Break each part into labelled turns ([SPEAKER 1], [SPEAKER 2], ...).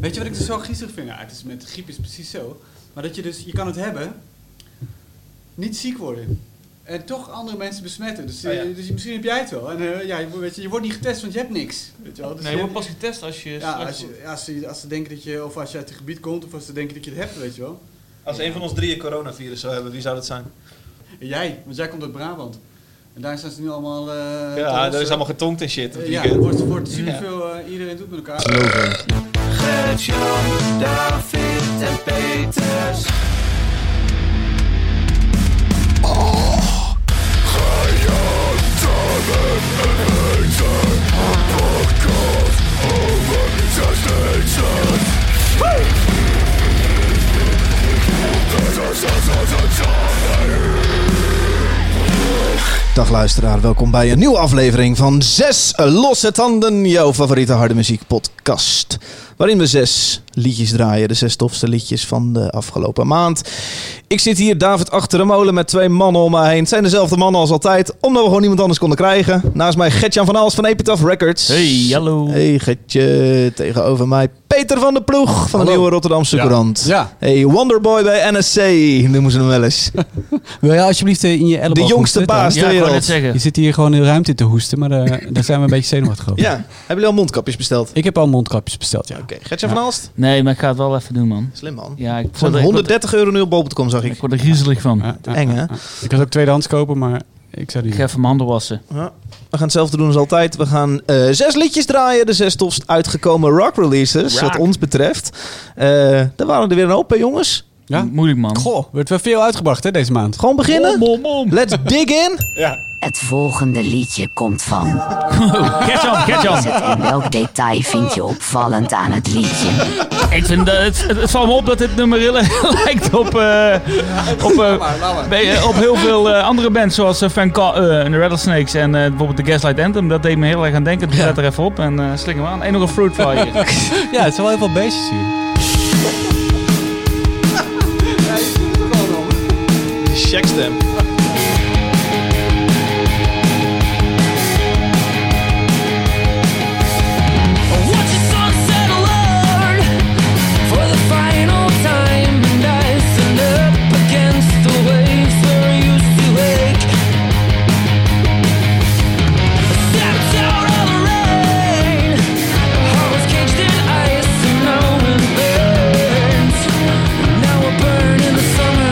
[SPEAKER 1] Weet je wat ik dus zo griezelig vind? Ja, het is met griep is precies zo. Maar dat je dus, je kan het hebben, niet ziek worden. En toch andere mensen besmetten. Dus,
[SPEAKER 2] Oh ja.
[SPEAKER 1] eh, dus misschien heb jij het wel. En eh, ja, je, wo- weet je, je wordt niet getest, want je hebt niks. Weet je wel? Dus
[SPEAKER 2] Nee, je wordt pas getest als je.
[SPEAKER 1] ja,
[SPEAKER 2] straks-
[SPEAKER 1] als, je, ja, als, ze, als ze denken dat je, of als je uit het gebied komt, of als ze denken dat je het hebt, weet je wel.
[SPEAKER 3] Als een van ons drieën coronavirus zou hebben, wie zou dat zijn?
[SPEAKER 1] En jij, want jij komt uit Brabant. En daar zijn ze nu allemaal... eh, te
[SPEAKER 3] ja, dat
[SPEAKER 1] rossen.
[SPEAKER 3] is allemaal getonkt en shit.
[SPEAKER 1] Eh,
[SPEAKER 3] het
[SPEAKER 1] ja,
[SPEAKER 3] weekend.
[SPEAKER 1] het wordt, het wordt
[SPEAKER 3] Ja.
[SPEAKER 1] superveel, eh, iedereen doet met elkaar.
[SPEAKER 4] Gert-Jan, David en Peters.
[SPEAKER 5] Dag luisteraar, welkom bij een nieuwe aflevering van Zes Losse Tanden, jouw favoriete harde muziek podcast. Waarin we zes liedjes draaien, de zes tofste liedjes van de afgelopen maand. Ik zit hier, David, achter de molen met twee mannen om me heen. Het zijn dezelfde mannen als altijd, omdat we gewoon niemand anders konden krijgen. Naast mij Gertjan van Aals van Epitaph Records.
[SPEAKER 2] Hey, hallo.
[SPEAKER 5] Hey Gertje, tegenover mij Peter van der Ploeg van de
[SPEAKER 6] Hallo.
[SPEAKER 5] Nieuwe Rotterdamse
[SPEAKER 6] Ja.
[SPEAKER 5] Courant.
[SPEAKER 1] Ja,
[SPEAKER 5] Hey, Wonderboy bij NSC, noemen ze hem wel eens.
[SPEAKER 6] Wil jij alsjeblieft eh, in je elleboog
[SPEAKER 5] De jongste
[SPEAKER 6] hoesten?
[SPEAKER 5] baas
[SPEAKER 6] Dan-
[SPEAKER 2] Ja,
[SPEAKER 5] ter
[SPEAKER 2] ik wou
[SPEAKER 5] wereld.
[SPEAKER 2] net
[SPEAKER 6] Je
[SPEAKER 2] zeggen.
[SPEAKER 6] zit hier gewoon in ruimte te hoesten, maar eh, daar zijn we een beetje zenuwachtig over.
[SPEAKER 5] Ja, hebben jullie al mondkapjes besteld?
[SPEAKER 6] Ik heb al mondkapjes besteld, ja.
[SPEAKER 5] Oké, Gertje van Alst?
[SPEAKER 2] Nee, maar ik ga het wel even doen, man.
[SPEAKER 5] Slim man.
[SPEAKER 2] Ja, ik
[SPEAKER 5] Voor
[SPEAKER 2] word er- ik word
[SPEAKER 5] 130 euro nu op bol.com zag
[SPEAKER 2] er-
[SPEAKER 5] ik.
[SPEAKER 2] ik word er griezelig van.
[SPEAKER 6] Ja, ja,
[SPEAKER 5] Eng, hè?
[SPEAKER 6] ja. Ik kan het ook tweedehands kopen, maar ik zou
[SPEAKER 2] Ik
[SPEAKER 6] die...
[SPEAKER 2] ga even mijn handen wassen.
[SPEAKER 5] Ja. We gaan hetzelfde doen als altijd. We gaan eh, zes liedjes draaien. De zes tofst uitgekomen rock releases,
[SPEAKER 2] Rock.
[SPEAKER 5] wat ons betreft. Eh daar waren er weer een hoop hè, jongens.
[SPEAKER 6] Ja?
[SPEAKER 2] Moeilijk, man.
[SPEAKER 6] Goh, wordt wel veel uitgebracht hè, deze maand.
[SPEAKER 5] Gewoon beginnen.
[SPEAKER 2] Mom, mom, mom.
[SPEAKER 5] Let's dig in.
[SPEAKER 7] Het volgende liedje komt van.
[SPEAKER 2] Gertjan,
[SPEAKER 7] Is
[SPEAKER 2] Gertjan.
[SPEAKER 7] het en welk detail vind je opvallend aan het liedje?
[SPEAKER 2] Ik vind dat het, het, valt me op dat dit nummer heel erg lijkt op, eh, op, eh, bij, eh, op heel veel eh, andere bands, zoals eh, Van Ka- eh, en de Rattlesnakes en eh, bijvoorbeeld de Gaslight Anthem. Dat deed me heel erg aan denken. Doe dat er even op en eh slik hem aan. En nog een Fruit Fly hier.
[SPEAKER 6] Ja, het zijn wel heel veel beestjes hier.
[SPEAKER 5] Check stem.
[SPEAKER 8] Burn in the summer.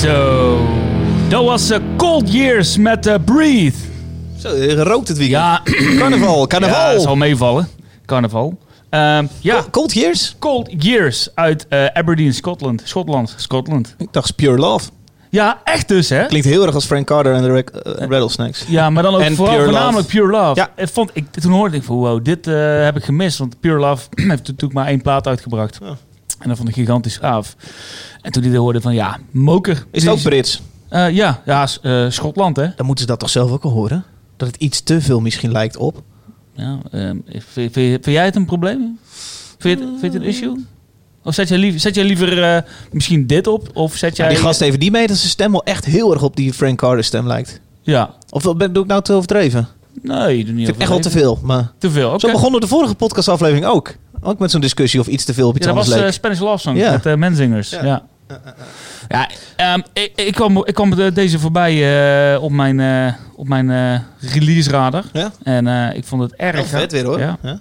[SPEAKER 2] Zo. Dat was eh, Cold Years met eh, Breathe.
[SPEAKER 5] Zo, eh, gerookt het weekend.
[SPEAKER 2] Ja,
[SPEAKER 5] Carnaval, carnaval.
[SPEAKER 2] ja zal meevallen. Carnaval. Ehm, ja,
[SPEAKER 5] Co- Cold Years?
[SPEAKER 2] Cold Years uit eh, Aberdeen, Scotland. Schotland, Scotland.
[SPEAKER 5] Ik dacht is Pure Love.
[SPEAKER 2] Ja, echt dus, hè?
[SPEAKER 5] Klinkt heel erg als Frank Carter en de Rack- eh, Rattlesnakes.
[SPEAKER 2] Ja, maar dan ook
[SPEAKER 5] En
[SPEAKER 2] vooral
[SPEAKER 5] Pure Love.
[SPEAKER 2] voornamelijk Pure Love.
[SPEAKER 5] Ja.
[SPEAKER 2] Het vond ik, toen hoorde ik van, wow, dit eh, heb ik gemist. Want Pure Love heeft natuurlijk maar één plaat uitgebracht.
[SPEAKER 5] Ja.
[SPEAKER 2] En dat vond ik gigantisch gaaf. En toen die hoorde van, ja, moker.
[SPEAKER 5] Is het ook
[SPEAKER 2] Dit
[SPEAKER 5] Brits?
[SPEAKER 2] Eh, ja, ja s- eh, Schotland, hè?
[SPEAKER 5] Dan moeten ze dat toch zelf ook al horen? Dat het iets te veel misschien lijkt op.
[SPEAKER 2] Ja, ehm, vind, vind- vind jij het een probleem? Vind je het, vind je het een issue? Of zet jij liever, zet jij liever eh, misschien dit op? Of zet jij...
[SPEAKER 5] die gast heeft die mee dat zijn stem wel echt heel erg op die Frank Carter stem lijkt.
[SPEAKER 2] Ja.
[SPEAKER 5] Of wel- ben, doe ik nou te overdreven?
[SPEAKER 2] Nee, je doet niet
[SPEAKER 5] Vind ik echt wel te
[SPEAKER 2] overdreven.
[SPEAKER 5] veel. Maar...
[SPEAKER 2] Te veel, oké.
[SPEAKER 5] Zo begonnen de vorige podcastaflevering ook. Ook met zo'n discussie of iets te veel op iets
[SPEAKER 2] Ja, dat was
[SPEAKER 5] anders
[SPEAKER 2] eh,
[SPEAKER 5] leek.
[SPEAKER 2] Spanish Love Song
[SPEAKER 5] Ja.
[SPEAKER 2] met eh, Menzingers. Ja.
[SPEAKER 5] Ja.
[SPEAKER 2] ja. ehm, ik, ik kwam, ik kwam de- deze voorbij eh, op mijn, eh, op mijn eh, release radar.
[SPEAKER 5] Ja?
[SPEAKER 2] En eh, ik vond het erg.
[SPEAKER 5] Heel Oh, vet weer hoor.
[SPEAKER 2] Ja.
[SPEAKER 5] Ja.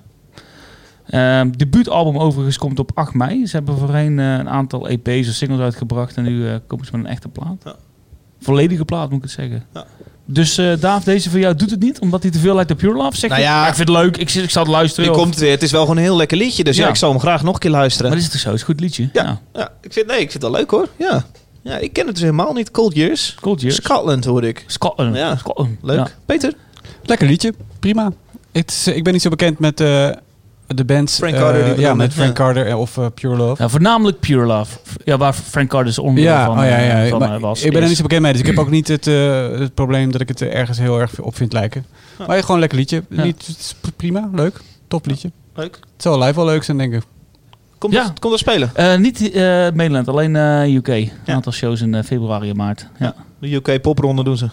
[SPEAKER 2] Ehm, debuutalbum overigens komt op 8 mei. Ze hebben voorheen eh, een aantal EP's of singles uitgebracht. En nu eh, komen ze met een echte plaat.
[SPEAKER 5] Ja.
[SPEAKER 2] Volledige plaat moet ik het zeggen.
[SPEAKER 5] Ja.
[SPEAKER 2] Dus eh Daaf, deze voor jou doet het niet? Omdat hij te veel lijkt op Pure Love? Zeg
[SPEAKER 5] Nou
[SPEAKER 2] je,
[SPEAKER 5] ja.
[SPEAKER 2] "Ah, ik vind het leuk. Ik, zit- ik zal het luisteren.
[SPEAKER 5] Die
[SPEAKER 2] of-
[SPEAKER 5] komt weer. Het is wel gewoon een heel lekker liedje. Dus ja,
[SPEAKER 2] Ja.
[SPEAKER 5] ik zal hem graag nog een keer luisteren.
[SPEAKER 2] Maar dat is toch zo? Het is een goed liedje.
[SPEAKER 5] Ja. Ja, ik vind, nee, ik vind het wel leuk hoor. Ja. ja, ik ken het dus helemaal niet. Cold Years.
[SPEAKER 2] Cold Years.
[SPEAKER 5] Scotland hoorde ik.
[SPEAKER 2] Scotland.
[SPEAKER 5] Ja.
[SPEAKER 2] Scotland.
[SPEAKER 5] Leuk.
[SPEAKER 2] Ja.
[SPEAKER 5] Peter?
[SPEAKER 1] Lekker liedje. Prima. Het is, eh, ik ben niet zo bekend met eh, de bands.
[SPEAKER 5] Frank
[SPEAKER 1] eh,
[SPEAKER 5] Carter, die
[SPEAKER 1] ja,
[SPEAKER 5] bedoelde,
[SPEAKER 1] met Frank
[SPEAKER 5] ja.
[SPEAKER 1] Carter eh, of eh, Pure Love.
[SPEAKER 2] Ja, voornamelijk Pure Love. F- Ja, waar Frank Carter is onderdeel
[SPEAKER 1] Ja,
[SPEAKER 2] van,
[SPEAKER 1] oh ja, ja.
[SPEAKER 2] eh, van,
[SPEAKER 1] maar
[SPEAKER 2] eh, was.
[SPEAKER 1] ik ben er
[SPEAKER 2] is.
[SPEAKER 1] niet zo bekend mee, dus ik heb ook niet het, eh, het probleem dat ik het eh, ergens heel erg op vind lijken. Maar ja, gewoon een lekker liedje.
[SPEAKER 2] Ja.
[SPEAKER 1] Niet, het is pr- prima, leuk. Top liedje.
[SPEAKER 5] Leuk.
[SPEAKER 1] Het zal live wel leuk zijn, denk ik.
[SPEAKER 5] Kom,
[SPEAKER 2] Ja.
[SPEAKER 5] dat, kom dat spelen.
[SPEAKER 2] Eh, niet eh Mainland, alleen eh, UK. Een
[SPEAKER 5] Ja.
[SPEAKER 2] aantal shows in eh, februari en maart. Ja.
[SPEAKER 5] De UK popronde doen ze.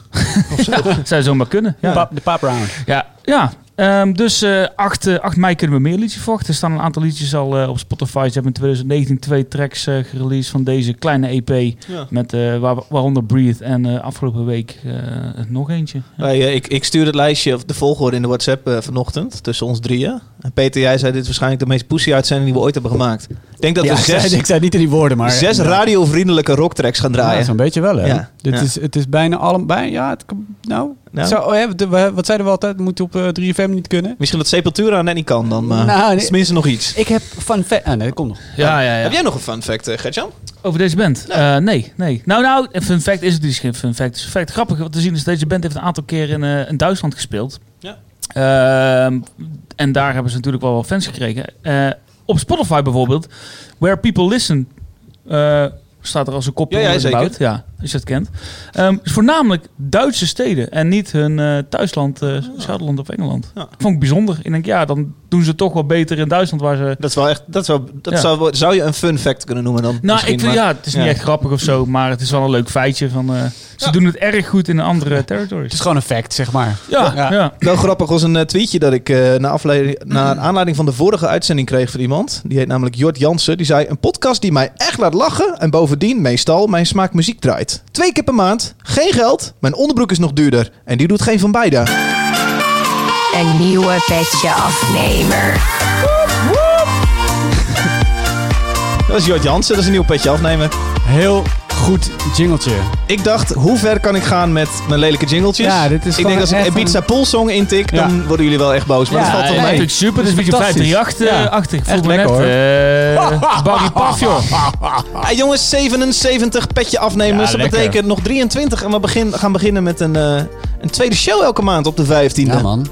[SPEAKER 2] Dat zou zomaar kunnen. Ja,
[SPEAKER 1] Pap- de pap round.
[SPEAKER 2] ja. ja. Ehm, dus eh 8, eh, 8 mei kunnen we meer liedjes verwachten. Er staan een aantal liedjes al eh, op Spotify. Ze hebben in 2019 twee tracks eh gereleased van deze kleine EP.
[SPEAKER 5] Ja.
[SPEAKER 2] Met, eh, waar, waaronder Breathe en eh, afgelopen week eh, nog eentje.
[SPEAKER 5] Wij, eh, ik, ik stuurde het lijstje, of de volgorde in de WhatsApp eh, vanochtend, tussen ons drieën. En Peter, jij zei dit is waarschijnlijk de meest pussy uitzending die we ooit hebben gemaakt. Ik denk dat
[SPEAKER 1] Ja,
[SPEAKER 5] we
[SPEAKER 1] ik zei-
[SPEAKER 5] zes,
[SPEAKER 1] ik zei het niet in die woorden, maar...
[SPEAKER 5] zes
[SPEAKER 1] Ja.
[SPEAKER 5] radiovriendelijke rocktracks gaan
[SPEAKER 1] Ja,
[SPEAKER 5] draaien.
[SPEAKER 1] zo'n beetje wel, hè?
[SPEAKER 5] Ja.
[SPEAKER 1] Dit
[SPEAKER 5] Ja.
[SPEAKER 1] Is, het is bijna allemaal... Ja, het, kan- nou...
[SPEAKER 5] Nou.
[SPEAKER 1] Zo, oh ja, de- we- wat zeiden we altijd? Moet op eh, 3FM niet kunnen?
[SPEAKER 5] Misschien dat Sepultura net niet kan dan, maar
[SPEAKER 1] Nou,
[SPEAKER 5] is
[SPEAKER 1] nee.
[SPEAKER 5] tenminste nog iets.
[SPEAKER 1] Ik heb van... Ah, nee, dat komt nog.
[SPEAKER 2] Ja, ja,
[SPEAKER 5] Heb jij nog een fun fact, eh, Gertjan?
[SPEAKER 2] Over deze band? Eh, Nee. nee, Nou, nou, een fun fact is het dus geen fun fact. Het is een fact grappig wat te zien is, deze band heeft een aantal keer in, eh, in Duitsland gespeeld.
[SPEAKER 5] Ja.
[SPEAKER 2] Ehm, en daar hebben ze natuurlijk wel wat fans gekregen. Eh, op Spotify bijvoorbeeld, Where People Listen, eh, staat er als een kopje
[SPEAKER 5] Ja, ja,
[SPEAKER 2] onder de
[SPEAKER 5] zeker.
[SPEAKER 2] bout. Ja, als je dat kent. Ehm, het is voornamelijk Duitse steden en niet hun eh, thuisland, eh Schotland of Engeland.
[SPEAKER 5] Ah. Ja.
[SPEAKER 2] Vond ik bijzonder. Ik denk, ja, dan doen ze het toch wel beter in Duitsland waar ze
[SPEAKER 5] Dat, is wel echt, dat, zou, dat
[SPEAKER 2] Ja.
[SPEAKER 5] zou, zou je een fun fact kunnen noemen dan?
[SPEAKER 2] Nou,
[SPEAKER 5] misschien,
[SPEAKER 2] ik vind,
[SPEAKER 5] maar-
[SPEAKER 2] ja, het is
[SPEAKER 5] ja.
[SPEAKER 2] niet echt grappig of zo, maar het is wel een leuk feitje. Van, eh, ze
[SPEAKER 5] Ja.
[SPEAKER 2] doen het erg goed in andere
[SPEAKER 1] Het
[SPEAKER 2] territories.
[SPEAKER 1] is gewoon een fact, zeg maar.
[SPEAKER 2] Ja, ja.
[SPEAKER 1] Ja.
[SPEAKER 5] Wel grappig was een eh, tweetje dat ik eh na afle- naar aanleiding van de vorige uitzending kreeg van iemand. Die heet namelijk Jort Jansen. Die zei, een podcast die mij echt laat lachen en bovendien meestal mijn smaak muziek draait. Twee keer per maand, geen geld, mijn onderbroek is nog duurder. En die doet geen van beide.
[SPEAKER 7] Een nieuwe petje afnemer.
[SPEAKER 5] Dat is Jort Jansen, dat is een nieuw petje afnemen.
[SPEAKER 1] Heel goed jingletje.
[SPEAKER 5] Ik dacht, hoe ver kan ik gaan met mijn lelijke jingletjes?
[SPEAKER 1] Ja, dit is
[SPEAKER 5] ik
[SPEAKER 1] gewoon
[SPEAKER 5] denk als ik
[SPEAKER 1] echt
[SPEAKER 5] een Ibiza Poolsong intik, dan
[SPEAKER 1] Ja.
[SPEAKER 5] worden jullie wel echt boos. Maar
[SPEAKER 1] Ja,
[SPEAKER 5] dat valt
[SPEAKER 2] Ja,
[SPEAKER 5] wel mee.
[SPEAKER 2] natuurlijk super.
[SPEAKER 1] Dat
[SPEAKER 2] Dus
[SPEAKER 1] is
[SPEAKER 2] een beetje
[SPEAKER 1] fantastisch. Ja.
[SPEAKER 2] 538 achtig. Voel
[SPEAKER 1] Echt
[SPEAKER 2] me
[SPEAKER 1] lekker,
[SPEAKER 2] net, eh, Barry Paf, joh.
[SPEAKER 5] Ah, jongens, 77 petje afnemers.
[SPEAKER 1] Ja,
[SPEAKER 5] dat
[SPEAKER 1] lekker.
[SPEAKER 5] betekent nog 23. En we begin, gaan beginnen met een, eh, een tweede show elke maand op de 15e.
[SPEAKER 1] man.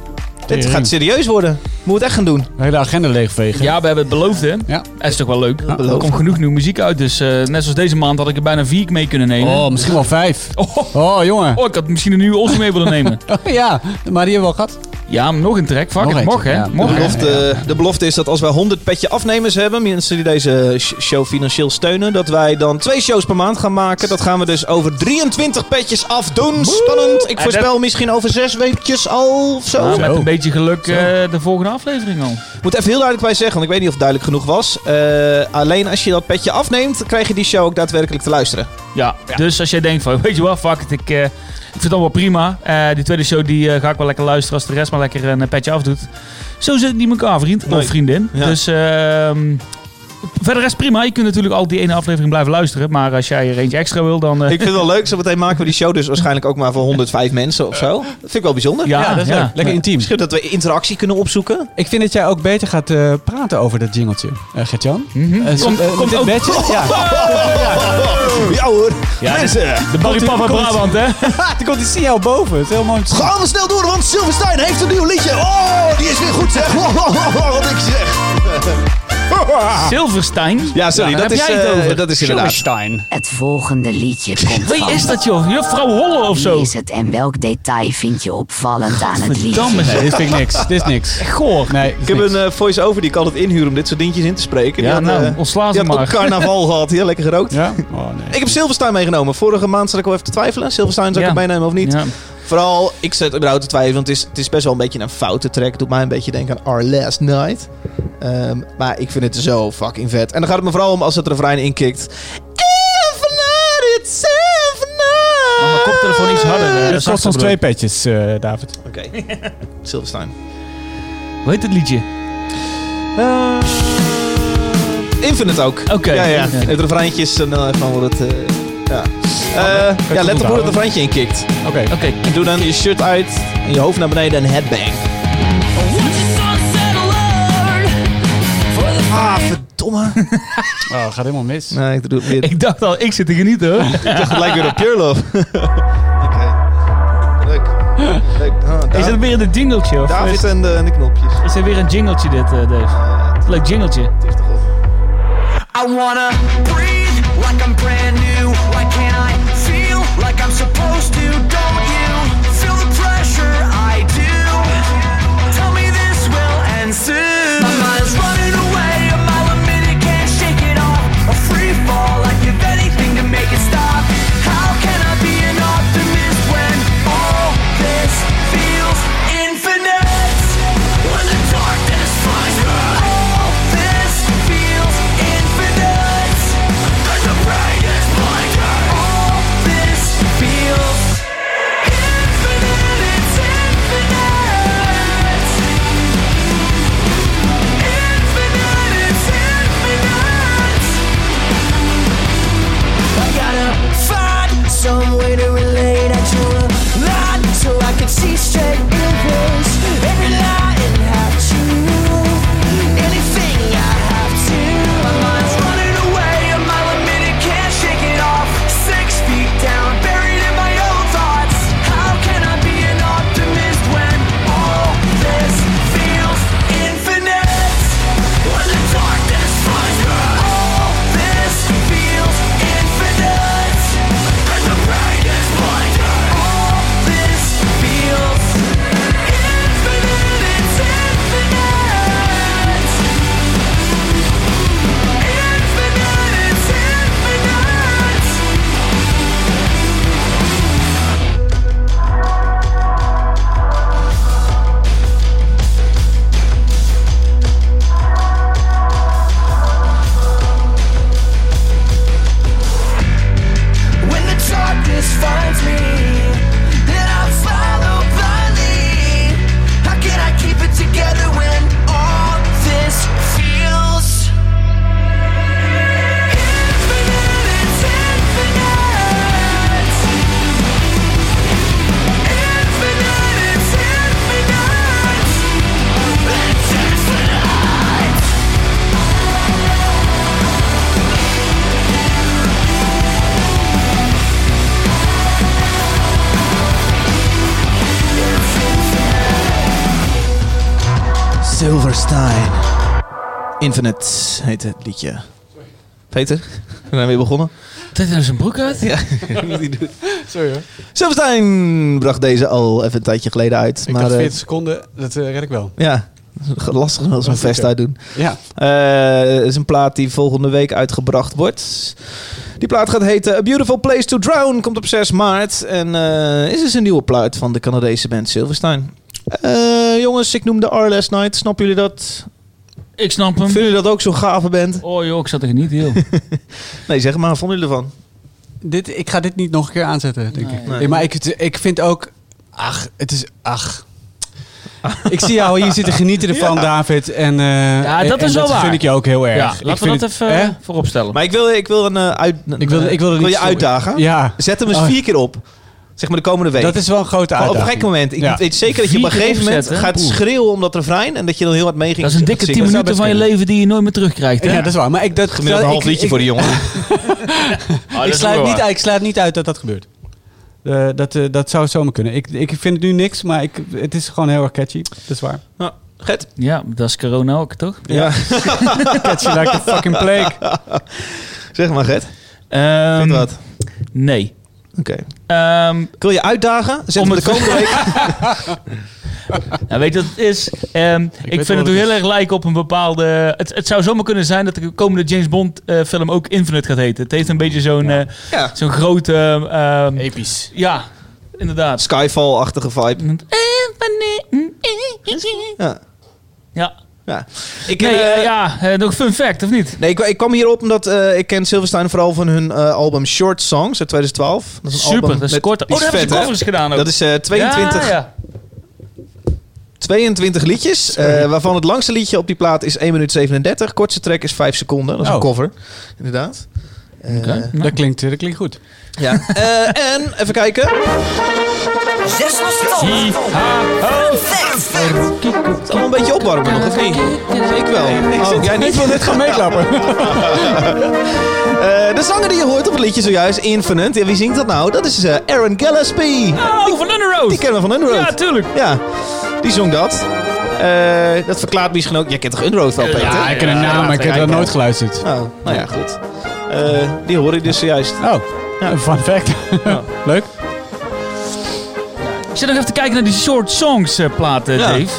[SPEAKER 5] Dit gaat serieus worden. Moeten we het echt gaan doen.
[SPEAKER 1] De hele agenda leegvegen.
[SPEAKER 2] Ja, we hebben het beloofd, hè?
[SPEAKER 1] Ja.
[SPEAKER 2] Dat is toch wel leuk.
[SPEAKER 5] beloofd.
[SPEAKER 2] er komt genoeg nieuwe muziek uit, dus eh, net zoals deze maand had ik er bijna vier mee kunnen nemen.
[SPEAKER 1] Oh, misschien wel vijf.
[SPEAKER 2] Oh, oh,
[SPEAKER 1] Oh, jongen.
[SPEAKER 2] ik had misschien een nieuwe Oscar mee willen nemen.
[SPEAKER 1] Oh, ja, maar die hebben we al gehad.
[SPEAKER 2] Ja, maar nog een track. Fuck
[SPEAKER 1] Nog
[SPEAKER 2] het,
[SPEAKER 1] eentje,
[SPEAKER 2] mocht, hè?
[SPEAKER 1] ja.
[SPEAKER 5] De
[SPEAKER 2] Mocht, hè?
[SPEAKER 5] belofte, eh, de belofte is dat als wij 100 petje afnemers hebben, mensen die deze eh, sh- show financieel steunen, dat wij dan twee shows per maand gaan maken. Dat gaan we dus over 23 petjes afdoen. Spannend. Ik
[SPEAKER 2] En
[SPEAKER 5] voorspel misschien over zes weekjes al of zo.
[SPEAKER 2] Nou, met
[SPEAKER 1] Zo.
[SPEAKER 2] een beetje geluk eh, de volgende aflevering al.
[SPEAKER 5] Ik moet even heel duidelijk bij zeggen, want ik weet niet of het duidelijk genoeg was. Eh, alleen als je dat petje afneemt, krijg je die show ook daadwerkelijk te luisteren.
[SPEAKER 2] Ja, dus als jij denkt van, weet je wat, fuck it, ik, eh, ik vind het allemaal prima. Eh, die tweede show die, eh, ga ik wel lekker luisteren als de rest maar lekker een eh, petje afdoet. Zo zit het niet in elkaar, vriend
[SPEAKER 5] Nee.
[SPEAKER 2] of vriendin.
[SPEAKER 5] Ja.
[SPEAKER 2] Dus ehm, Verder is prima. Je kunt natuurlijk al die ene aflevering blijven luisteren. Maar als jij er eentje extra wil, dan... eh,
[SPEAKER 5] Ik vind het wel leuk. Zometeen maken we die show dus waarschijnlijk ook maar voor 105 mensen of zo. Dat vind ik wel bijzonder.
[SPEAKER 2] ja,
[SPEAKER 1] Ah, dat is
[SPEAKER 2] ja.
[SPEAKER 1] leuk. Lekker intiem.
[SPEAKER 5] Misschien dat we interactie kunnen opzoeken.
[SPEAKER 1] Ik vind dat jij ook beter gaat eh, praten over dat jingeltje, eh, Gert-Jan. Eh, zo-
[SPEAKER 2] Komt-
[SPEAKER 1] eh, met
[SPEAKER 2] komt
[SPEAKER 1] dit
[SPEAKER 2] ook-
[SPEAKER 1] bedje. Ja,
[SPEAKER 5] Ja hoor.
[SPEAKER 2] Ja,
[SPEAKER 5] Mensen,
[SPEAKER 2] De Barry
[SPEAKER 1] Komt-
[SPEAKER 2] Papa
[SPEAKER 1] komt-
[SPEAKER 2] Brabant, hè?
[SPEAKER 1] er komt die signaal boven. Het is heel mooi. om te zien.
[SPEAKER 5] gaan we snel door, want Silverstein heeft een nieuw liedje. Oh, die is weer goed zeg. Wat ik zeg.
[SPEAKER 2] Silverstein.
[SPEAKER 5] Ja, sorry.
[SPEAKER 2] daar
[SPEAKER 5] dat,
[SPEAKER 2] heb
[SPEAKER 5] is,
[SPEAKER 2] jij het
[SPEAKER 5] eh,
[SPEAKER 2] over.
[SPEAKER 5] dat is inderdaad.
[SPEAKER 1] Stein.
[SPEAKER 7] Het volgende liedje komt
[SPEAKER 2] Wie
[SPEAKER 7] van...
[SPEAKER 2] is dat, joh? Juffrouw Holle of zo?
[SPEAKER 7] Wie is het en welk detail vind je opvallend aan het
[SPEAKER 2] Verdamme,
[SPEAKER 7] liedje?
[SPEAKER 1] Nee,
[SPEAKER 2] zeg.
[SPEAKER 1] dit vind ik niks. Dit is niks.
[SPEAKER 2] Goor.
[SPEAKER 1] Nee, dit is
[SPEAKER 5] Ik heb
[SPEAKER 1] niks.
[SPEAKER 5] een eh, voice-over die kan het inhuren om dit soort dingetjes in te spreken.
[SPEAKER 2] Ja,
[SPEAKER 5] die
[SPEAKER 2] nou,
[SPEAKER 5] eh,
[SPEAKER 2] ontsla
[SPEAKER 5] die
[SPEAKER 2] ze
[SPEAKER 5] had op
[SPEAKER 2] maar.
[SPEAKER 5] carnaval gehad. Heel lekker gerookt.
[SPEAKER 1] Ja? Oh, nee.
[SPEAKER 5] eh, Ik heb Silverstein meegenomen. Vorige maand zat ik al even te twijfelen. Silverstein zou ik
[SPEAKER 2] Ja.
[SPEAKER 5] het meenemen of niet.
[SPEAKER 2] Ja.
[SPEAKER 5] Vooral, ik zet überhaupt te twijfelen. Want het is, het is best wel een beetje een foute track. Doet mij een beetje denken aan Our Last Night. Ehm, maar ik vind het zo fucking vet. En dan gaat het me vooral om als het refrein inkikt. Even not itself now.
[SPEAKER 2] Mag mijn koptelefoon iets harder, eh,
[SPEAKER 1] Het kost
[SPEAKER 2] zachter
[SPEAKER 1] ons twee
[SPEAKER 2] bedoel
[SPEAKER 1] petjes, eh, David.
[SPEAKER 5] Oké. Silverstein.
[SPEAKER 2] Hoe heet het liedje?
[SPEAKER 5] Eh, Infinite ook.
[SPEAKER 2] Oké.
[SPEAKER 5] Ja, ja.
[SPEAKER 2] Oké.
[SPEAKER 5] Het refreintje is eh, nou, gewoon wat het... eh, ja. Eh, ja, let op hoe het refreintje inkikt.
[SPEAKER 1] Oké.
[SPEAKER 2] Oké.
[SPEAKER 5] En doe dan je shirt uit, en je hoofd naar beneden en headbang. Ah, verdomme.
[SPEAKER 1] Oh, gaat helemaal mis.
[SPEAKER 5] Nee, ik doe het weer.
[SPEAKER 2] Ik dacht al, ik zit te genieten, hoor.
[SPEAKER 5] Ik dacht gelijk weer op Pure Love. Oké. Leuk. Leuk. Ah, Dav-
[SPEAKER 2] Is dat weer een jingletje? Of
[SPEAKER 5] David
[SPEAKER 2] is,
[SPEAKER 5] en de, en de knopjes.
[SPEAKER 2] is er weer een jingletje dit, eh, Dave? Leuk jingletje.
[SPEAKER 5] Het is toch op.
[SPEAKER 4] I wanna breathe like I'm brand new. Why can't I feel like I'm supposed to? Don't you feel the pressure? I do. Tell me this will end soon. My mind's running away, a mile a minute, can't shake it off. A free fall, I give anything to make it stop. How can I be an optimist when all this feels infinite? When the darkness finds me, all this feels infinite. Like the brightest blinker. All this feels infinite. It's infinite. Infinite. It's infinite. I gotta find some way to relate at you a lot so I can see straight billboards. Every lie and have to anything I have to. My mind's running away, a mile a minute, can't shake it off. Six feet down, buried in my own thoughts. How can I be an optimist when all this feels infinite? When the darkness finds me, all this feels infinite. And the brain is blinded. All this feels infinite. It's infinite. Infinite. It's infinite. When the darkness finds me, then I follow blindly. How can I keep it together when all this feels infinite? It's infinite. Infinite. It's infinite. It's infinite.
[SPEAKER 5] Silverstein. Infinite heet het liedje. Peter, we zijn weer begonnen.
[SPEAKER 2] Trekt hij zijn broek uit?
[SPEAKER 5] Ja, Sorry hoor. Silverstein bracht deze al even een tijdje geleden uit.
[SPEAKER 1] Ik
[SPEAKER 5] maar
[SPEAKER 1] dacht
[SPEAKER 5] eh,
[SPEAKER 1] 40 seconden, dat eh, red ik wel.
[SPEAKER 5] ja, lastig wel zo'n
[SPEAKER 1] Lastig,
[SPEAKER 5] vest
[SPEAKER 1] ja.
[SPEAKER 5] uitdoen.
[SPEAKER 1] Ja.
[SPEAKER 5] Eh, Het is een plaat die volgende week uitgebracht wordt. Die plaat gaat heten A Beautiful Place to Drown. Komt op 6 maart. En eh, is dus een nieuwe plaat van de Canadese band Silverstein. Eh, jongens, ik noemde R Last Night. Snappen jullie dat?
[SPEAKER 2] Ik snap hem.
[SPEAKER 5] Vinden jullie dat ook zo'n gave band?
[SPEAKER 2] Oh joh, ik zat er genieten, joh.
[SPEAKER 5] Nee, zeg maar. Vonden jullie ervan?
[SPEAKER 1] Dit, ik ga dit niet nog een keer aanzetten, denk ik.
[SPEAKER 2] Nee.
[SPEAKER 1] Nee, maar ik, ik vind ook... Ach, het is... Ach. Ik zie jou hier zitten genieten ervan, David. En, eh,
[SPEAKER 2] Ja, dat
[SPEAKER 1] en-
[SPEAKER 2] is
[SPEAKER 1] en
[SPEAKER 2] wel waar.
[SPEAKER 1] vind ik je ook heel
[SPEAKER 2] Ja,
[SPEAKER 1] erg.
[SPEAKER 2] laten
[SPEAKER 1] Ik
[SPEAKER 2] we
[SPEAKER 1] vind
[SPEAKER 2] dat
[SPEAKER 1] het-
[SPEAKER 2] even
[SPEAKER 1] hè?
[SPEAKER 2] eh, vooropstellen.
[SPEAKER 5] Maar ik wil, ik wil een eh, uit...
[SPEAKER 1] Ik wil- ik wil er
[SPEAKER 5] wil
[SPEAKER 1] niet
[SPEAKER 5] je
[SPEAKER 1] zo-
[SPEAKER 5] uitdagen.
[SPEAKER 1] Ja,
[SPEAKER 5] Zet
[SPEAKER 2] Ah.
[SPEAKER 5] hem eens
[SPEAKER 1] Oh.
[SPEAKER 5] vier keer op. Zeg maar de komende week.
[SPEAKER 1] dat is wel een grote
[SPEAKER 5] Gewoon op een gek
[SPEAKER 1] uitdaging.
[SPEAKER 5] moment. Ik
[SPEAKER 1] Ja.
[SPEAKER 5] weet zeker dat je op een
[SPEAKER 2] Vier keer
[SPEAKER 5] gegeven moment
[SPEAKER 2] opzetten,
[SPEAKER 5] gaat
[SPEAKER 2] poeh.
[SPEAKER 5] schreeuwen om dat refrein. En dat je dan heel hard mee
[SPEAKER 2] dat is een dikke 10 minuten van je leven die je nooit meer terugkrijgt. Hè?
[SPEAKER 1] Ja, dat is waar. Maar ik, dat,
[SPEAKER 5] Gemiddeld een
[SPEAKER 1] ik-
[SPEAKER 5] half liedje
[SPEAKER 1] ik-
[SPEAKER 5] voor die jongen. Ah,
[SPEAKER 1] ik, sluit niet uit, ik sluit niet uit dat dat gebeurt. Eh, dat, eh, dat zou zomaar kunnen. Ik, ik vind het nu niks, maar ik, het is gewoon heel erg catchy. Dat is waar.
[SPEAKER 5] Gert?
[SPEAKER 2] Ja, dat is corona ook, toch?
[SPEAKER 5] Ja.
[SPEAKER 1] Catchy like a fucking plague.
[SPEAKER 5] Zeg maar Gert.
[SPEAKER 2] Ehm,
[SPEAKER 5] Vind wat.
[SPEAKER 2] Nee.
[SPEAKER 5] Oké.
[SPEAKER 2] Ehm,
[SPEAKER 5] Ik wil je uitdagen. Zet
[SPEAKER 2] Om
[SPEAKER 5] hem de
[SPEAKER 2] het-
[SPEAKER 5] komende week.
[SPEAKER 2] nou, weet je wat het is? Ehm, ik
[SPEAKER 1] wel
[SPEAKER 2] vind het
[SPEAKER 1] wat
[SPEAKER 2] ook
[SPEAKER 1] het
[SPEAKER 2] heel erg lijken op een bepaalde... Het, het zou zomaar kunnen zijn dat de komende James Bond eh, film ook Infinite gaat heten. Het heeft een beetje zo'n eh,
[SPEAKER 5] Ja.
[SPEAKER 2] zo'n grote... ehm,
[SPEAKER 1] Episch.
[SPEAKER 2] ja, inderdaad.
[SPEAKER 5] Skyfall-achtige vibe. Ja.
[SPEAKER 2] Ja.
[SPEAKER 5] ja. Ik,
[SPEAKER 2] Nee,
[SPEAKER 5] eh,
[SPEAKER 2] eh, ja, eh, nog fun fact, of niet?
[SPEAKER 5] Nee, ik, ik kwam hierop omdat eh, ik ken Silverstein vooral van hun eh, album Short Songs uit 2012. Dat is een
[SPEAKER 2] Super,
[SPEAKER 5] album
[SPEAKER 2] dat is
[SPEAKER 5] met-
[SPEAKER 2] kort. Oh,
[SPEAKER 5] die
[SPEAKER 2] daar
[SPEAKER 5] is
[SPEAKER 2] hebben ze
[SPEAKER 5] vet, hè?
[SPEAKER 2] covers gedaan ook.
[SPEAKER 5] Dat is eh, 22,
[SPEAKER 2] Ja, ja.
[SPEAKER 5] 22 liedjes, eh, waarvan het langste liedje op die plaat is 1 minuut 37. Kortste track is 5 seconden. Dat is een
[SPEAKER 1] Oh.
[SPEAKER 5] cover, inderdaad. Eh,
[SPEAKER 1] Dat klinkt, dat klinkt goed.
[SPEAKER 5] ja. Eh, en, even kijken.
[SPEAKER 9] Zes was stom.
[SPEAKER 5] Het is allemaal een beetje opwarmen nog, of niet? Ik wel. Oh, jij niet?
[SPEAKER 1] wil dit gaan meeklappen.
[SPEAKER 5] Eh, de zanger die je hoort op het liedje zojuist, Infinite. En wie zingt dat nou? Dat is eh, Aaron Gillespie.
[SPEAKER 2] Oh, van Under Oath.
[SPEAKER 5] Die kennen we van Underworld.
[SPEAKER 2] Ja, tuurlijk.
[SPEAKER 5] Ja, die zong dat. Eh, dat verklaart misschien ook... Jij kent toch Underworld wel, Peter?
[SPEAKER 1] Ja, ik ken een naam, maar ik heb dat nooit geluisterd.
[SPEAKER 5] Oh, nou ja, goed. Eh, die hoor ik dus zojuist.
[SPEAKER 1] Oh, een fun fact. Leuk.
[SPEAKER 2] Ik zit nog even te kijken naar die Short Songs eh, plaat, eh,
[SPEAKER 5] Ja. Hmm.
[SPEAKER 2] Dave.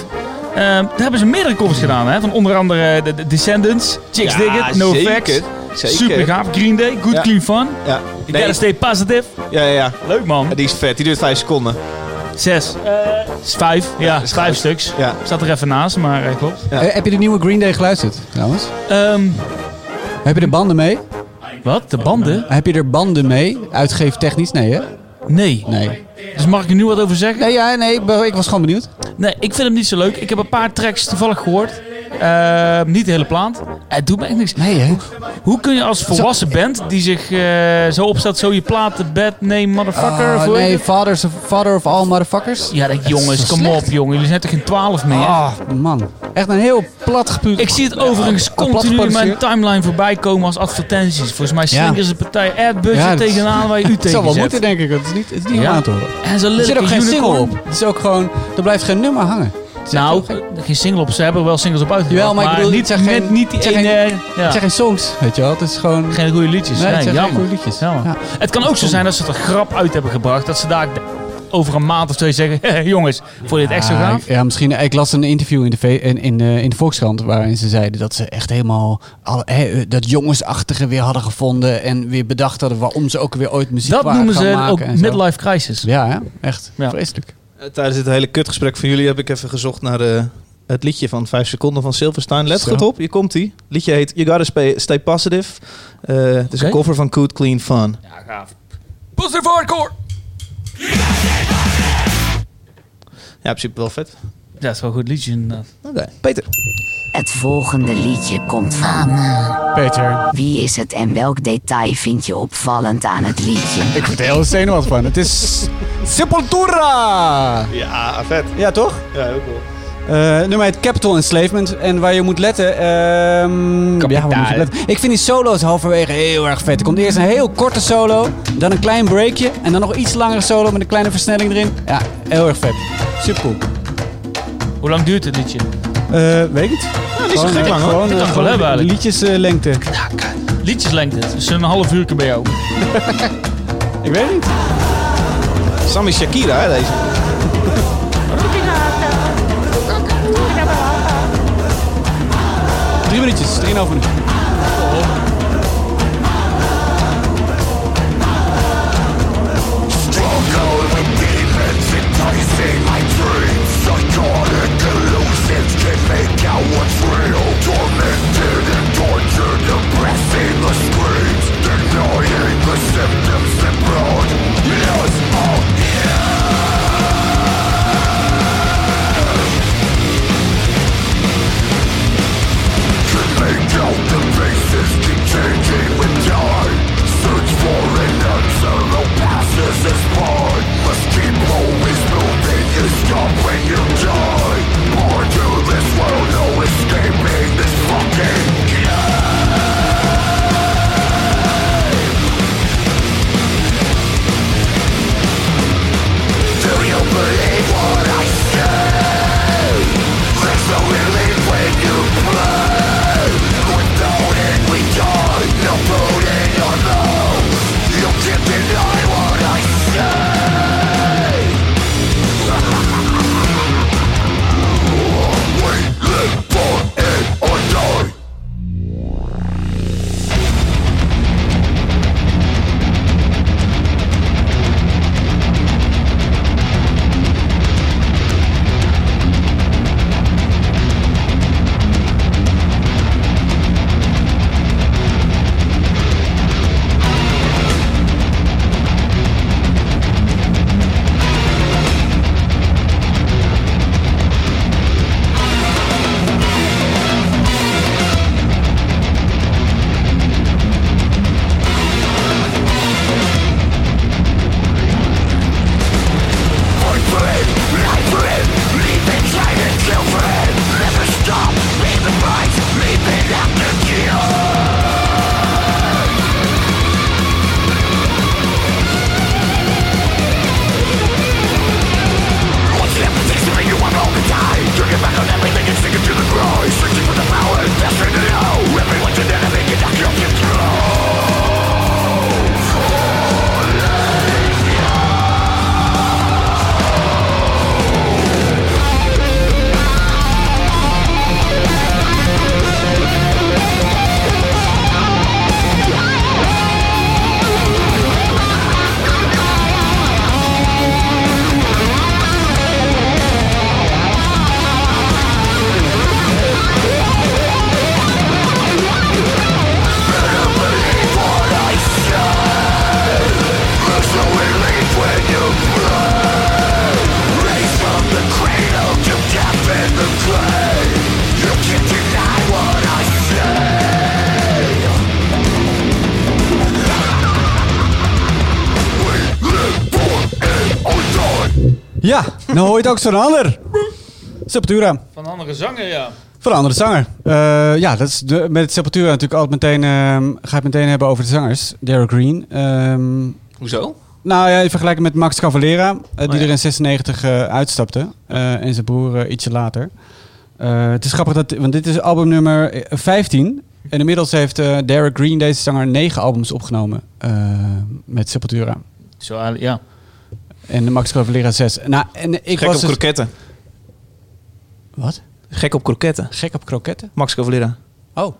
[SPEAKER 2] Ehm, daar hebben ze meerdere covers gedaan, hè? Van onder andere eh, de, de Descendants, Chicks
[SPEAKER 5] Ja,
[SPEAKER 2] Dig It, No
[SPEAKER 5] zeker.
[SPEAKER 2] Facts.
[SPEAKER 5] Zeker.
[SPEAKER 2] Super gaaf. Green Day, Good
[SPEAKER 5] Ja.
[SPEAKER 2] Clean Fun.
[SPEAKER 5] Ja.
[SPEAKER 2] You
[SPEAKER 5] Nee,
[SPEAKER 2] gotta stay positive.
[SPEAKER 5] ja, ja, ja.
[SPEAKER 2] Leuk man.
[SPEAKER 5] Ja, Die is vet. Die duurt 5 seconden.
[SPEAKER 2] Zes. Eh, is vijf. Ja,
[SPEAKER 5] is
[SPEAKER 2] vijf
[SPEAKER 5] goed.
[SPEAKER 2] stuks.
[SPEAKER 5] Ja.
[SPEAKER 2] Staat er even naast, maar eh, klopt.
[SPEAKER 5] Ja.
[SPEAKER 1] Eh, heb je de nieuwe Green Day geluisterd, trouwens?
[SPEAKER 2] Ehm,
[SPEAKER 1] Heb je er banden mee?
[SPEAKER 2] wat? De banden?
[SPEAKER 1] Heb je er banden mee? Uitgeef technisch? Nee, hè?
[SPEAKER 2] Nee.
[SPEAKER 1] Nee.
[SPEAKER 2] Dus mag ik er nu wat over zeggen?
[SPEAKER 1] Nee, ja, nee, ik ben- ik was gewoon benieuwd.
[SPEAKER 2] Nee, ik vind hem niet zo leuk. Ik heb een paar tracks toevallig gehoord. Ehm, niet de hele plaat. Het doet me echt niks.
[SPEAKER 1] Nee, hè?
[SPEAKER 2] Hoe kun je als volwassen band die zich eh, zo opstelt, zo je plaat te bed neemt, motherfucker? of
[SPEAKER 1] Ah,
[SPEAKER 2] hoe heet
[SPEAKER 1] nee,
[SPEAKER 2] het?
[SPEAKER 1] fathers of, father of all motherfuckers.
[SPEAKER 2] Ja, dat, jongens,
[SPEAKER 1] zo
[SPEAKER 2] kom
[SPEAKER 1] slecht.
[SPEAKER 2] op, jongen. Jullie zijn toch geen twaalf meer?
[SPEAKER 1] Ah, man. Echt een heel plat gepuurd.
[SPEAKER 2] Ik zie het overigens continu in mijn timeline voorbij komen als advertenties. Volgens mij
[SPEAKER 1] Ja.
[SPEAKER 2] slingeren ze een partij ad-budget
[SPEAKER 1] Ja, dat-
[SPEAKER 2] tegenaan waar je u tegen
[SPEAKER 1] Het zou wel
[SPEAKER 2] zet.
[SPEAKER 1] moeten, denk ik. want Het is niet, het is niet
[SPEAKER 2] Ja.
[SPEAKER 1] om aan te horen.
[SPEAKER 2] En ze
[SPEAKER 1] Er zit
[SPEAKER 2] lullen
[SPEAKER 1] ook geen single
[SPEAKER 2] unicorn.
[SPEAKER 1] op. Het is ook gewoon... Er blijft geen nummer hangen. Het is
[SPEAKER 2] Nou,
[SPEAKER 1] echt heel gek.
[SPEAKER 2] geen single op. Ze hebben wel singles op uitgebracht.
[SPEAKER 1] Jawel, maar ik bedoel,
[SPEAKER 2] niet,
[SPEAKER 1] het zijn
[SPEAKER 2] met
[SPEAKER 1] geen-
[SPEAKER 2] niet die
[SPEAKER 1] het zijn
[SPEAKER 2] ene-
[SPEAKER 1] geen-
[SPEAKER 2] ja.
[SPEAKER 1] Het zijn geen songs, weet je wel. Het is gewoon...
[SPEAKER 2] geen goede liedjes.
[SPEAKER 1] Nee,
[SPEAKER 2] Nee,
[SPEAKER 1] het zijn geen
[SPEAKER 2] jammer.
[SPEAKER 1] goede liedjes.
[SPEAKER 2] Jammer.
[SPEAKER 1] Ja.
[SPEAKER 2] Het kan ook zo zijn dat ze het een grap uit hebben gebracht. Dat ze daar over een maand of twee zeggen... "Hé, jongens, vond je dit echt zo
[SPEAKER 1] Ja,
[SPEAKER 2] gaaf?
[SPEAKER 1] Ah, ik- Ja, misschien. Ik las een interview in de, V- in, in, eh, in de Volkskrant waarin ze zeiden dat ze echt helemaal alle, hè, dat jongensachtige weer hadden gevonden en weer bedacht hadden waarom ze ook weer ooit muziek
[SPEAKER 2] Dat
[SPEAKER 1] waren
[SPEAKER 2] noemen
[SPEAKER 1] gaan
[SPEAKER 2] ze
[SPEAKER 1] maken
[SPEAKER 2] ook
[SPEAKER 1] en zo.
[SPEAKER 2] midlife crisis.
[SPEAKER 1] Ja, hè? echt.
[SPEAKER 2] Ja.
[SPEAKER 1] Vreselijk.
[SPEAKER 5] Eh, Tijdens dit hele kutgesprek van jullie heb ik even gezocht naar eh, het liedje van 5 seconden van Silverstein. Let
[SPEAKER 1] Zo.
[SPEAKER 5] goed op, hier komt ie. Het liedje heet You Gotta Stay, Stay Positive. Eh, het is een
[SPEAKER 2] Oké.
[SPEAKER 5] cover van Coot Clean Fun.
[SPEAKER 2] Ja, gaaf. Positive hardcore!
[SPEAKER 5] Ja, in principe wel vet.
[SPEAKER 2] Ja, dat is wel een goed liedje inderdaad.
[SPEAKER 5] Oké, Peter.
[SPEAKER 7] Het volgende liedje komt van.
[SPEAKER 1] Peter.
[SPEAKER 7] Wie is het en welk detail vind je opvallend aan het liedje?
[SPEAKER 1] Ik word er heel zenuwachtig van. Het is Sepultura!
[SPEAKER 5] Ja, vet.
[SPEAKER 1] Ja, toch?
[SPEAKER 5] Ja, heel cool.
[SPEAKER 1] Eh, nummer heet Capital Enslavement. En waar je moet letten... ehm, ja, waar moet je letten? Ik vind die solo's halverwege heel erg vet. Er komt eerst een heel korte solo. Dan een klein breakje. En dan nog iets langere solo met een kleine versnelling erin. Ja, heel erg vet. Super cool.
[SPEAKER 2] Hoe lang duurt het liedje?
[SPEAKER 1] Eh, weet ik niet.
[SPEAKER 5] niet zo gek lang, hoor.
[SPEAKER 1] Gewoon, eh,
[SPEAKER 2] Dit kan ik
[SPEAKER 1] gewoon
[SPEAKER 2] wel
[SPEAKER 1] eh,
[SPEAKER 2] hebben, eigenlijk.
[SPEAKER 1] liedjeslengte.
[SPEAKER 2] Liedjeslengte. Het is een half uur bij jou.
[SPEAKER 1] ik weet niet.
[SPEAKER 5] Sammy Shakira, hè, deze.
[SPEAKER 1] Drie minuutjes. Drieënhalf minuut.
[SPEAKER 4] oh.
[SPEAKER 1] Ja, nou hoor je het ook zo'n ander. Sepultura.
[SPEAKER 2] Van een andere zanger, ja.
[SPEAKER 1] Van een andere zanger. Eh, ja, dat is de, met Sepultura natuurlijk altijd meteen... ehm ga je het meteen hebben over de zangers. Derek Green. Ehm,
[SPEAKER 5] Hoezo?
[SPEAKER 1] nou ja, in vergelijking met Max Cavalera. eh, die
[SPEAKER 5] Oh ja.
[SPEAKER 1] er in 96 eh, uitstapte. eh, en zijn broer eh, ietsje later. Eh, het is grappig, dat, want dit is album nummer eh, 15. En inmiddels heeft eh, Derek Green, deze zanger, negen albums opgenomen. eh, met Sepultura.
[SPEAKER 2] Zo, eigenlijk, ja.
[SPEAKER 1] En de Max Cavalera 6. Nou, en ik
[SPEAKER 5] Gek
[SPEAKER 1] was
[SPEAKER 5] op
[SPEAKER 1] dus-
[SPEAKER 5] kroketten.
[SPEAKER 1] Wat?
[SPEAKER 5] Gek op kroketten.
[SPEAKER 1] Gek op kroketten?
[SPEAKER 5] Max Cavalera.
[SPEAKER 1] Oh.
[SPEAKER 5] Dat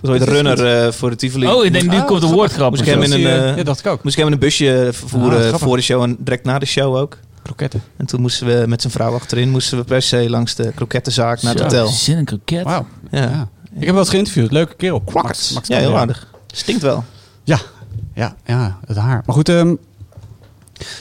[SPEAKER 5] was ooit de runner eh, voor de Tivoli.
[SPEAKER 2] Oh, ik denk, nu
[SPEAKER 1] Ah,
[SPEAKER 2] komt de woordgrap.
[SPEAKER 5] Moest
[SPEAKER 2] of
[SPEAKER 5] ik
[SPEAKER 2] zo.
[SPEAKER 5] hem in een, eh,
[SPEAKER 1] Ja, dacht ik ook.
[SPEAKER 5] Moest ik hem in een busje
[SPEAKER 1] Ah,
[SPEAKER 5] vervoeren
[SPEAKER 1] grappig.
[SPEAKER 5] voor de show en direct na de show ook.
[SPEAKER 1] Kroketten.
[SPEAKER 5] En toen moesten we met zijn vrouw achterin moesten we per se langs de krokettenzaak naar het
[SPEAKER 2] Zo,
[SPEAKER 5] hotel.
[SPEAKER 2] Zin in kroket.
[SPEAKER 1] Wauw.
[SPEAKER 5] Ja,
[SPEAKER 1] Ja. Ik heb hem wel eens geïnterviewd. Leuke kerel. Max, Max
[SPEAKER 5] ja heel
[SPEAKER 1] Cavalera.
[SPEAKER 5] aardig. Stinkt wel.
[SPEAKER 1] Ja. Ja, ja, het haar. Maar goed, ehm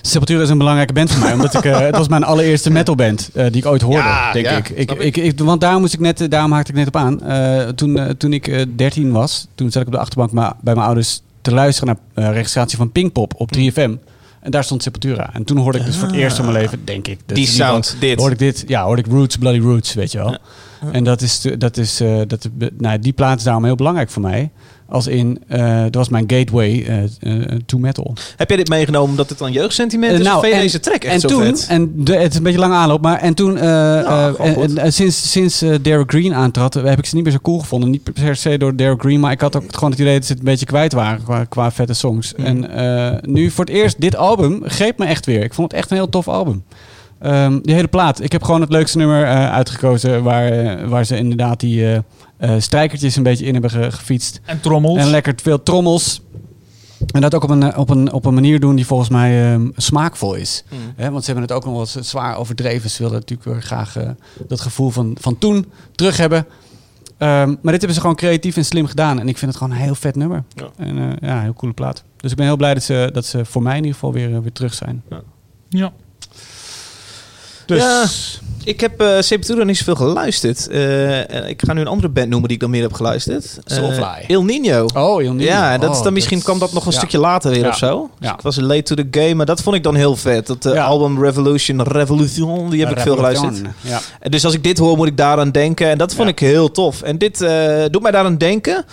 [SPEAKER 1] Sepultura is een belangrijke band voor mij. omdat ik, eh, het was mijn allereerste metalband eh, die ik ooit hoorde,
[SPEAKER 5] Ja,
[SPEAKER 1] denk
[SPEAKER 5] ja,
[SPEAKER 1] ik. Ik,
[SPEAKER 5] snap
[SPEAKER 1] ik. ik- Want daar, moest ik net, eh, daarom haakte ik net op aan. Eh, toen, eh, toen ik eh, 13 was, toen zat ik op de achterbank ma- bij mijn ouders te luisteren naar eh, registratie van Pinkpop
[SPEAKER 5] Hmm.
[SPEAKER 1] op 3FM. En daar stond Sepultura. En toen hoorde ik dus voor het eerst in mijn leven, denk ik. dat
[SPEAKER 5] Ah. Die
[SPEAKER 1] is in ieder geval-
[SPEAKER 5] sound, dit.
[SPEAKER 1] Hoorde ik dit, ja, hoorde ik Roots, Bloody Roots, weet je wel. En dat is, te- dat is eh, dat, nou, die plaats is daarom heel belangrijk voor mij. Als in, eh, dat was mijn gateway eh, eh, to metal.
[SPEAKER 5] Heb jij dit meegenomen omdat het dan jeugdsentiment is?
[SPEAKER 1] Eh,
[SPEAKER 5] of vind je
[SPEAKER 1] en-
[SPEAKER 5] deze track echt
[SPEAKER 1] en
[SPEAKER 5] zo
[SPEAKER 1] toen,
[SPEAKER 5] vet? Nou,
[SPEAKER 1] En de, het is een beetje lange aanloop, maar en toen, eh, eh,
[SPEAKER 5] gewoon
[SPEAKER 1] en-
[SPEAKER 5] goed.
[SPEAKER 1] en, eh, sinds, sinds eh, Derek Green aantrad, eh, heb ik ze niet meer zo cool gevonden. Niet per se door Derek Green, maar ik had ook gewoon het idee dat ze het een beetje kwijt waren qua, qua vette songs.
[SPEAKER 5] Mm.
[SPEAKER 1] En eh, nu voor het eerst, dit album greep me echt weer. Ik vond het echt een heel tof album. Ehm, die hele plaat. Ik heb gewoon het leukste nummer eh, uitgekozen waar, eh, waar ze inderdaad die eh, eh, strijkertjes een beetje in hebben ge- gefietst.
[SPEAKER 2] En trommels.
[SPEAKER 1] En lekker veel trommels. En dat ook op een, eh, op een, op een manier doen die volgens mij ehm, smaakvol is.
[SPEAKER 5] Hmm.
[SPEAKER 1] Hè, want ze hebben het ook nog wel eens zwaar overdreven. Ze wilden natuurlijk weer graag eh, dat gevoel van, van toen terug hebben. Ehm, maar dit hebben ze gewoon creatief en slim gedaan. En ik vind het gewoon een heel vet nummer.
[SPEAKER 5] Ja.
[SPEAKER 1] En eh, ja, een heel coole plaat. Dus ik ben heel blij dat ze, dat ze voor mij in ieder geval weer, eh, weer terug zijn.
[SPEAKER 2] Ja.
[SPEAKER 1] Dus
[SPEAKER 5] Ja. Ik heb eh Sepultura niet zoveel geluisterd. Eh, eh, ik ga nu een andere band noemen die ik dan meer heb geluisterd. Eh,
[SPEAKER 1] Soulfly.
[SPEAKER 5] El Nino.
[SPEAKER 1] Oh, heel nieuw.
[SPEAKER 5] Ja, dat is
[SPEAKER 1] Oh,
[SPEAKER 5] dan misschien kwam dat nog een
[SPEAKER 1] ja.
[SPEAKER 5] stukje later weer
[SPEAKER 1] Ja.
[SPEAKER 5] of zo. Dus
[SPEAKER 1] Ja.
[SPEAKER 5] ik was late to the game, maar dat vond ik dan heel vet. Dat eh,
[SPEAKER 1] Ja.
[SPEAKER 5] album Revolution, Revolution, die heb ik veel geluisterd.
[SPEAKER 1] eh, Ja.
[SPEAKER 5] En Dus als ik dit hoor, moet ik daaraan denken. En dat vond
[SPEAKER 1] Ja.
[SPEAKER 5] ik heel tof. En dit eh, doet mij daaraan denken.